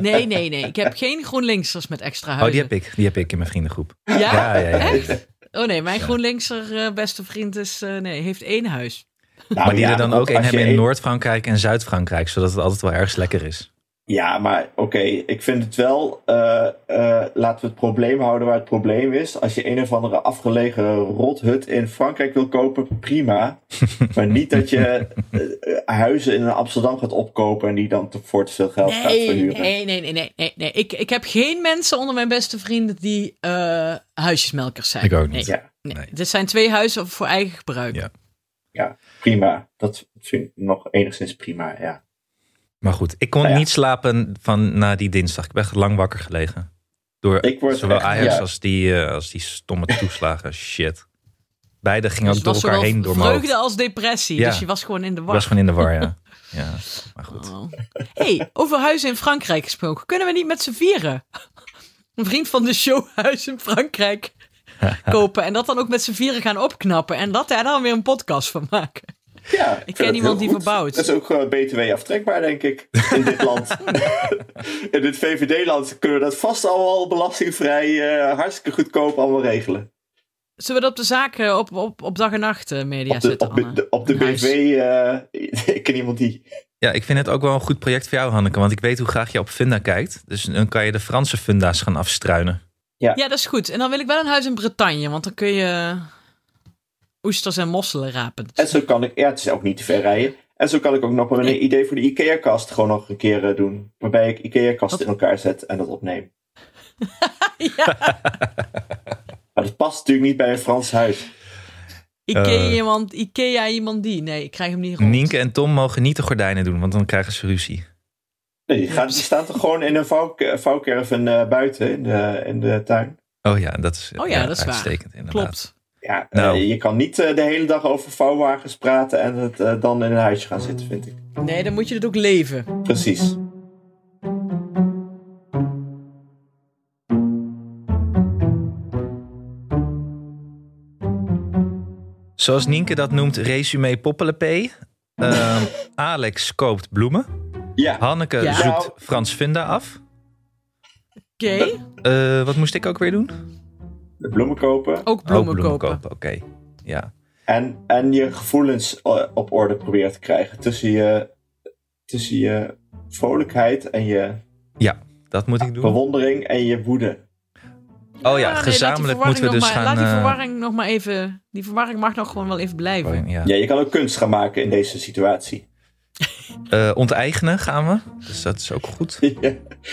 [SPEAKER 4] Nee, nee, nee. Ik heb geen GroenLinksers met extra
[SPEAKER 7] Oh, die
[SPEAKER 4] huizen.
[SPEAKER 7] heb ik. Die heb ik in mijn vriendengroep.
[SPEAKER 4] heb Ja?
[SPEAKER 7] Ja, ja, ja. ja.
[SPEAKER 4] Oh nee, mijn GroenLinkser eh, beste vriend is, eh, nee, heeft één huis.
[SPEAKER 2] Nou,
[SPEAKER 7] maar die
[SPEAKER 2] ja,
[SPEAKER 7] er dan
[SPEAKER 2] want
[SPEAKER 7] ook een
[SPEAKER 2] als je
[SPEAKER 7] hebben in
[SPEAKER 2] één-
[SPEAKER 7] Noord-Frankrijk en Zuid-Frankrijk, zodat het altijd wel ergens lekker is.
[SPEAKER 2] Ja, maar oké, ik vind het wel. eh, eh, laten we het probleem houden waar het probleem is. Als je een of andere afgelegen rothut in Frankrijk wil kopen, prima. maar niet dat je eh, eh, huizen in Amsterdam gaat opkopen en die dan te- voor te veel geld gaat
[SPEAKER 4] Nee,
[SPEAKER 2] verhuren.
[SPEAKER 4] nee, nee, nee, nee, nee, nee. Ik, ik heb geen mensen onder mijn beste vrienden die eh, huisjesmelkers zijn.
[SPEAKER 7] Ik ook niet.
[SPEAKER 4] Nee,
[SPEAKER 2] Ja,
[SPEAKER 4] nee.
[SPEAKER 7] Nee.
[SPEAKER 4] Dit zijn twee huizen voor eigen gebruik.
[SPEAKER 7] Ja.
[SPEAKER 2] ja, prima. Dat vind ik nog enigszins prima, ja.
[SPEAKER 7] Maar goed, ik kon
[SPEAKER 2] Nou ja.
[SPEAKER 7] niet slapen van na die dinsdag. Ik ben echt lang wakker gelegen. Door
[SPEAKER 2] Ik word
[SPEAKER 7] zowel
[SPEAKER 2] echt-
[SPEAKER 7] Ajax
[SPEAKER 2] ja.
[SPEAKER 7] als, die, eh, als die stomme toeslagen. Shit. Beide
[SPEAKER 4] Dus
[SPEAKER 7] gingen ook
[SPEAKER 4] het
[SPEAKER 7] door
[SPEAKER 4] was
[SPEAKER 7] elkaar
[SPEAKER 4] zowel
[SPEAKER 7] heen door mijn hoofd.
[SPEAKER 4] vreugde als depressie.
[SPEAKER 7] Ja.
[SPEAKER 4] Dus je was gewoon in de
[SPEAKER 7] Ik
[SPEAKER 4] war.
[SPEAKER 7] was gewoon in de war, ja. ja. Maar goed.
[SPEAKER 4] Oh. hey, over huizen in Frankrijk gesproken. Kunnen we niet met z'n vieren een vriend van de show huis in Frankrijk kopen en dat dan ook met z'n vieren gaan opknappen en dat daar dan weer een podcast van maken?
[SPEAKER 2] ja ik vind
[SPEAKER 4] ken
[SPEAKER 2] het
[SPEAKER 4] iemand
[SPEAKER 2] heel
[SPEAKER 4] die
[SPEAKER 2] goed.
[SPEAKER 4] verbouwt.
[SPEAKER 2] Dat is ook eh, BTW aftrekbaar, denk ik, in dit land. in dit VVD-land kunnen we dat vast allemaal belastingvrij, eh, hartstikke goedkoop allemaal regelen.
[SPEAKER 4] Zullen we dat op de zaken op, op, op dag en nacht eh, media
[SPEAKER 2] op de,
[SPEAKER 4] zetten?
[SPEAKER 2] op de,
[SPEAKER 4] Anne?
[SPEAKER 2] de- op de
[SPEAKER 4] Een huis.
[SPEAKER 2] BV, eh, ik ken iemand die.
[SPEAKER 7] Ja, ik vind het ook wel een goed project voor jou, Hanneke. Want ik weet hoe graag je op Funda kijkt. Dus dan kan je de Franse Funda's gaan afstruinen.
[SPEAKER 4] Ja, dat is goed. En dan wil ik wel een huis in Bretagne, want dan kun je oesters en mosselen rapen.
[SPEAKER 2] En zo kan ik, ja, het is ook niet te ver rijden. En zo kan ik ook nog wel een idee voor de IKEA-kast gewoon nog een keer eh, doen. Waarbij ik IKEA-kast in elkaar zet en dat opneem.
[SPEAKER 4] ja,
[SPEAKER 2] Maar dat past natuurlijk niet bij een Frans huis.
[SPEAKER 4] Ikea,
[SPEAKER 7] Eh.
[SPEAKER 4] iemand, Ikea iemand die. Nee, ik krijg hem niet rond.
[SPEAKER 7] Nienke en Tom mogen niet de gordijnen doen, want dan krijgen ze ruzie.
[SPEAKER 2] Nee, die, gaat, die staan toch gewoon in een vouw, vouwcaravan eh, buiten in de, in de tuin.
[SPEAKER 7] Oh ja, dat is,
[SPEAKER 4] Oh ja, dat is waar.
[SPEAKER 7] uitstekend inderdaad.
[SPEAKER 4] Klopt.
[SPEAKER 2] Ja,
[SPEAKER 7] Nou.
[SPEAKER 2] eh, je kan niet eh, de hele dag over vouwwagens praten en het, eh, dan in een huisje gaan zitten, vind ik.
[SPEAKER 4] Nee, dan moet je het ook leven.
[SPEAKER 2] Precies.
[SPEAKER 7] Zoals Nienke dat noemt, resume poppelepee. Ehm, Alex koopt bloemen.
[SPEAKER 2] Ja,
[SPEAKER 7] Hanneke
[SPEAKER 4] Ja.
[SPEAKER 7] zoekt
[SPEAKER 2] Nou.
[SPEAKER 7] Frans Funda af.
[SPEAKER 4] Oké,
[SPEAKER 7] Eh, wat moest ik ook weer doen?
[SPEAKER 2] de bloemen kopen.
[SPEAKER 4] ook bloemen,
[SPEAKER 7] oh, bloemen
[SPEAKER 4] kopen.
[SPEAKER 7] kopen. Oké. Ja.
[SPEAKER 2] En, en je gevoelens eh, op orde probeert te krijgen. Tussen je, tussen je vrolijkheid en je
[SPEAKER 7] ja, dat moet ik doen.
[SPEAKER 2] bewondering en je woede.
[SPEAKER 7] Oh
[SPEAKER 4] Ah,
[SPEAKER 7] ja,
[SPEAKER 4] nee, laat die
[SPEAKER 7] gezamenlijk moeten we
[SPEAKER 4] verwarring
[SPEAKER 7] dus
[SPEAKER 4] nog maar,
[SPEAKER 7] gaan...
[SPEAKER 4] Laat die
[SPEAKER 7] eh,
[SPEAKER 4] verwarring nog maar even... Die verwarring mag nog gewoon wel even blijven.
[SPEAKER 7] verwarring, Oh ja.
[SPEAKER 2] Ja, je kan ook kunst gaan maken in deze situatie.
[SPEAKER 7] Eh, onteigenen gaan we. Dus dat is ook goed.
[SPEAKER 2] Ja.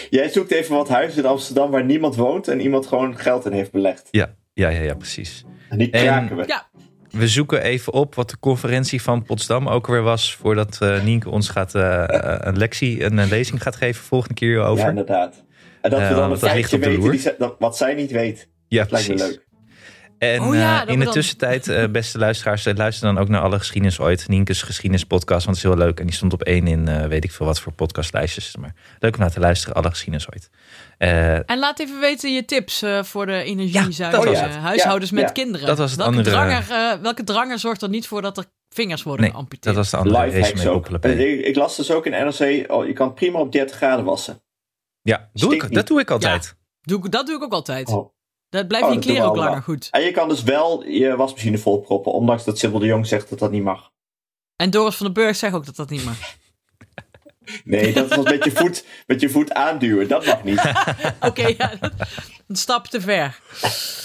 [SPEAKER 2] Jij zoekt even wat huis in Amsterdam waar niemand woont en iemand gewoon geld in heeft belegd.
[SPEAKER 7] Ja, ja, ja, ja precies.
[SPEAKER 2] En die
[SPEAKER 7] En-
[SPEAKER 2] kraken we.
[SPEAKER 4] Ja,
[SPEAKER 7] We zoeken even op wat de conferentie van Potsdam ook weer was. Voordat eh Nienke ons gaat, eh, een lectie, een, een lezing gaat geven volgende keer
[SPEAKER 2] Ja,
[SPEAKER 7] over. Ja,
[SPEAKER 2] inderdaad. En dat
[SPEAKER 7] Ja,
[SPEAKER 2] we dan
[SPEAKER 7] want
[SPEAKER 2] een
[SPEAKER 7] dat ligt
[SPEAKER 2] feitje
[SPEAKER 7] op de
[SPEAKER 2] weten
[SPEAKER 7] loer.
[SPEAKER 2] die ze- dat, wat zij niet weet. Lijkt me
[SPEAKER 7] precies.
[SPEAKER 2] leuk.
[SPEAKER 7] En
[SPEAKER 4] Oh ja,
[SPEAKER 7] eh,
[SPEAKER 4] dat
[SPEAKER 7] in
[SPEAKER 4] we
[SPEAKER 7] de
[SPEAKER 4] dan-
[SPEAKER 7] tussentijd, eh, beste luisteraars, eh, luister dan ook naar alle geschiedenis ooit. Nienke's geschiedenispodcast, want het is heel leuk. En die stond op één in eh, weet ik veel wat voor podcastlijstjes. Dus Maar leuk om naar te luisteren, alle geschiedenis ooit. Eh,
[SPEAKER 4] En laat even weten je tips eh, voor de
[SPEAKER 7] dat
[SPEAKER 4] energiezuinige
[SPEAKER 7] was het.
[SPEAKER 4] eh, huishoudens
[SPEAKER 2] Ja,
[SPEAKER 4] met
[SPEAKER 2] ja.
[SPEAKER 4] kinderen.
[SPEAKER 7] Dat was het
[SPEAKER 4] welke,
[SPEAKER 7] andere.
[SPEAKER 4] dranger, eh, welke dranger zorgt er niet voor dat er vingers worden
[SPEAKER 7] nee, dat
[SPEAKER 4] geamputeerd?
[SPEAKER 7] was de andere
[SPEAKER 2] Live
[SPEAKER 7] race
[SPEAKER 2] hacks
[SPEAKER 7] mee
[SPEAKER 2] ook.
[SPEAKER 7] koppelen.
[SPEAKER 2] Ik, ik las dus ook in NRC, oh, je kan prima op 30 graden wassen.
[SPEAKER 7] Ja, doe
[SPEAKER 2] Stinkt
[SPEAKER 7] ik,
[SPEAKER 2] niet.
[SPEAKER 7] dat doe ik altijd.
[SPEAKER 4] Doe ik, dat doe ik ook altijd.
[SPEAKER 2] Oh.
[SPEAKER 4] Dat blijft
[SPEAKER 2] Oh,
[SPEAKER 4] je
[SPEAKER 2] dat doen
[SPEAKER 4] kleren
[SPEAKER 2] we
[SPEAKER 4] ook langer
[SPEAKER 2] allemaal.
[SPEAKER 4] goed.
[SPEAKER 2] En je kan dus wel je wasmachine volproppen, ondanks dat Sibyl de Jong zegt dat dat niet mag.
[SPEAKER 4] En Doris van den Burg zegt ook dat dat niet mag.
[SPEAKER 2] Nee, dat is wat met je voet, met je voet aanduwen. Dat mag niet.
[SPEAKER 4] Oké, ja, dat- een stap te ver.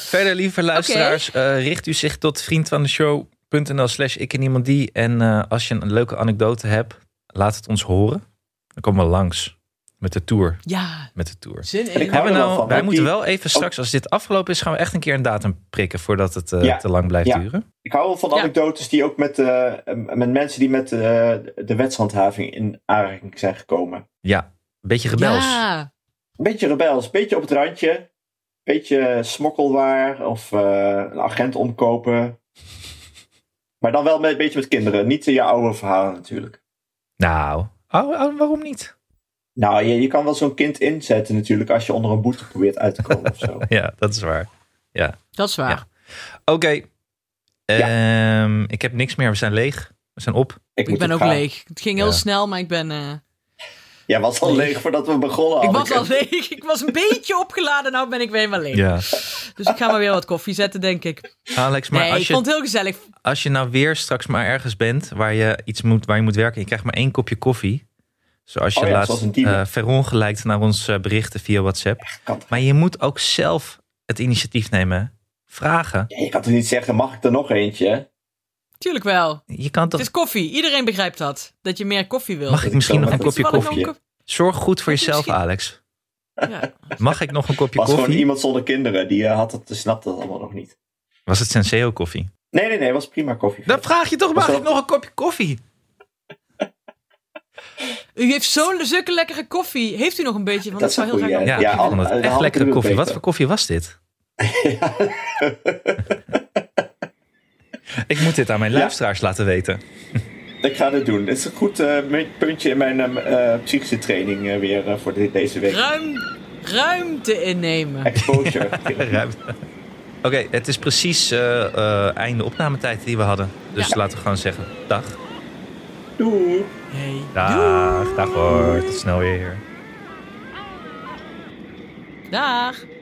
[SPEAKER 7] Verder, lieve luisteraars, eh, richt u zich tot vriend van de show.nl slash ik en iemand die. En eh, als je een leuke anekdote hebt, laat het ons horen. Dan komen we langs met de tour.
[SPEAKER 4] Ja,
[SPEAKER 7] Met de tour.
[SPEAKER 2] En
[SPEAKER 4] zin
[SPEAKER 2] ik
[SPEAKER 4] in.
[SPEAKER 2] hou
[SPEAKER 7] Hebben
[SPEAKER 2] er
[SPEAKER 7] we
[SPEAKER 2] wel
[SPEAKER 7] nou,
[SPEAKER 2] van.
[SPEAKER 7] wij
[SPEAKER 2] want
[SPEAKER 7] moeten
[SPEAKER 2] die- Oh.
[SPEAKER 7] wel even straks, als dit afgelopen is, gaan we echt een keer een datum prikken voordat het eh,
[SPEAKER 2] Ja.
[SPEAKER 7] te lang blijft
[SPEAKER 2] Ja.
[SPEAKER 7] duren.
[SPEAKER 2] Ik hou wel van
[SPEAKER 4] Ja.
[SPEAKER 2] anekdotes die ook met, eh, met mensen die met eh, de wetshandhaving in aanraking zijn gekomen.
[SPEAKER 7] Ja, beetje rebels.
[SPEAKER 4] Ja,
[SPEAKER 2] beetje rebels, beetje op het randje. Beetje smokkelwaar of eh, een agent omkopen. Maar dan wel met, een beetje met kinderen. Niet eh, je oude verhalen natuurlijk.
[SPEAKER 7] Nou, oh, oh, waarom niet?
[SPEAKER 2] Nou, je, je kan wel zo'n kind inzetten natuurlijk als je onder een boete probeert uit te komen of zo.
[SPEAKER 7] Ja, dat is waar.
[SPEAKER 4] dat is waar.
[SPEAKER 7] Ja. Oké. Ehm, ik heb niks meer. We zijn leeg. We zijn op.
[SPEAKER 4] Ik,
[SPEAKER 2] moet
[SPEAKER 4] ben ook
[SPEAKER 2] gaan.
[SPEAKER 4] leeg. Het ging heel
[SPEAKER 7] Ja.
[SPEAKER 4] snel, maar ik ben... eh,
[SPEAKER 2] Jij was al leeg voordat we begonnen.
[SPEAKER 4] ik was
[SPEAKER 2] Anneke.
[SPEAKER 4] al leeg. Ik was een beetje opgeladen. Nou ben ik weer helemaal leeg.
[SPEAKER 7] Ja.
[SPEAKER 4] Dus ik ga maar weer wat koffie zetten, denk ik.
[SPEAKER 7] Alex, maar
[SPEAKER 4] Nee,
[SPEAKER 7] als,
[SPEAKER 4] ik
[SPEAKER 7] je,
[SPEAKER 4] vond het heel gezellig.
[SPEAKER 7] als je nou weer straks maar ergens bent waar je iets moet, waar je moet werken, je krijgt maar één kopje koffie. Zoals je
[SPEAKER 2] Oh ja, zoals
[SPEAKER 7] laatst
[SPEAKER 2] een diebe.
[SPEAKER 7] eh verongelijkt naar ons eh, berichten via WhatsApp.
[SPEAKER 2] kan toch-
[SPEAKER 7] Maar je moet ook zelf het initiatief nemen. hè? Vragen.
[SPEAKER 2] Ja, je kan toch niet zeggen, mag ik er nog eentje?
[SPEAKER 4] Tuurlijk wel.
[SPEAKER 7] Je kan
[SPEAKER 4] Het
[SPEAKER 7] toch.
[SPEAKER 4] is koffie. Iedereen begrijpt dat. Dat je meer koffie wil.
[SPEAKER 7] Mag ik
[SPEAKER 2] ik
[SPEAKER 7] misschien
[SPEAKER 2] kan
[SPEAKER 7] nog een
[SPEAKER 2] met
[SPEAKER 7] kopje
[SPEAKER 4] Toevallig
[SPEAKER 7] koffie?
[SPEAKER 4] nog een
[SPEAKER 7] Zorg goed voor
[SPEAKER 4] Ik
[SPEAKER 7] jezelf,
[SPEAKER 4] misschien-
[SPEAKER 7] Alex.
[SPEAKER 4] kop- Ja.
[SPEAKER 7] Mag ik nog een kopje
[SPEAKER 2] Was gewoon
[SPEAKER 7] koffie?
[SPEAKER 2] iemand zonder kinderen. Die eh, had het, snapte dat allemaal nog niet.
[SPEAKER 7] Was het Senseo koffie?
[SPEAKER 2] Nee, nee, nee. Was prima koffie.
[SPEAKER 7] Dan vraag je toch,
[SPEAKER 2] Was
[SPEAKER 7] mag
[SPEAKER 2] dat-
[SPEAKER 7] ik nog een kopje koffie?
[SPEAKER 4] U heeft zo'n zulke lekkere koffie. Heeft u nog een beetje?
[SPEAKER 2] Dat
[SPEAKER 4] Want dat
[SPEAKER 2] is
[SPEAKER 4] zou
[SPEAKER 2] een
[SPEAKER 4] heel
[SPEAKER 2] goeie,
[SPEAKER 4] lekker.
[SPEAKER 7] Ja,
[SPEAKER 2] Ja,
[SPEAKER 7] ik
[SPEAKER 2] al-
[SPEAKER 7] vond het
[SPEAKER 2] al-
[SPEAKER 7] echt
[SPEAKER 2] al-
[SPEAKER 7] lekkere
[SPEAKER 2] al-
[SPEAKER 7] koffie.
[SPEAKER 2] beter.
[SPEAKER 7] Wat voor koffie was dit? Ik moet dit aan mijn
[SPEAKER 2] Ja.
[SPEAKER 7] luisteraars laten weten.
[SPEAKER 2] Ik ga dit doen. Het is een goed eh, me- puntje in mijn eh, eh, psychische training eh, weer eh, voor de- deze week.
[SPEAKER 4] Ruim, ruimte innemen.
[SPEAKER 2] Exposure.
[SPEAKER 7] Ruimte. Oké, het is precies eh, eh, einde opnametijd die we hadden. Dus
[SPEAKER 4] Ja.
[SPEAKER 7] laten we gewoon zeggen, dag.
[SPEAKER 2] Doei.
[SPEAKER 4] Hey.
[SPEAKER 7] Dag, dag hoor. Tot snel weer.
[SPEAKER 4] Dag.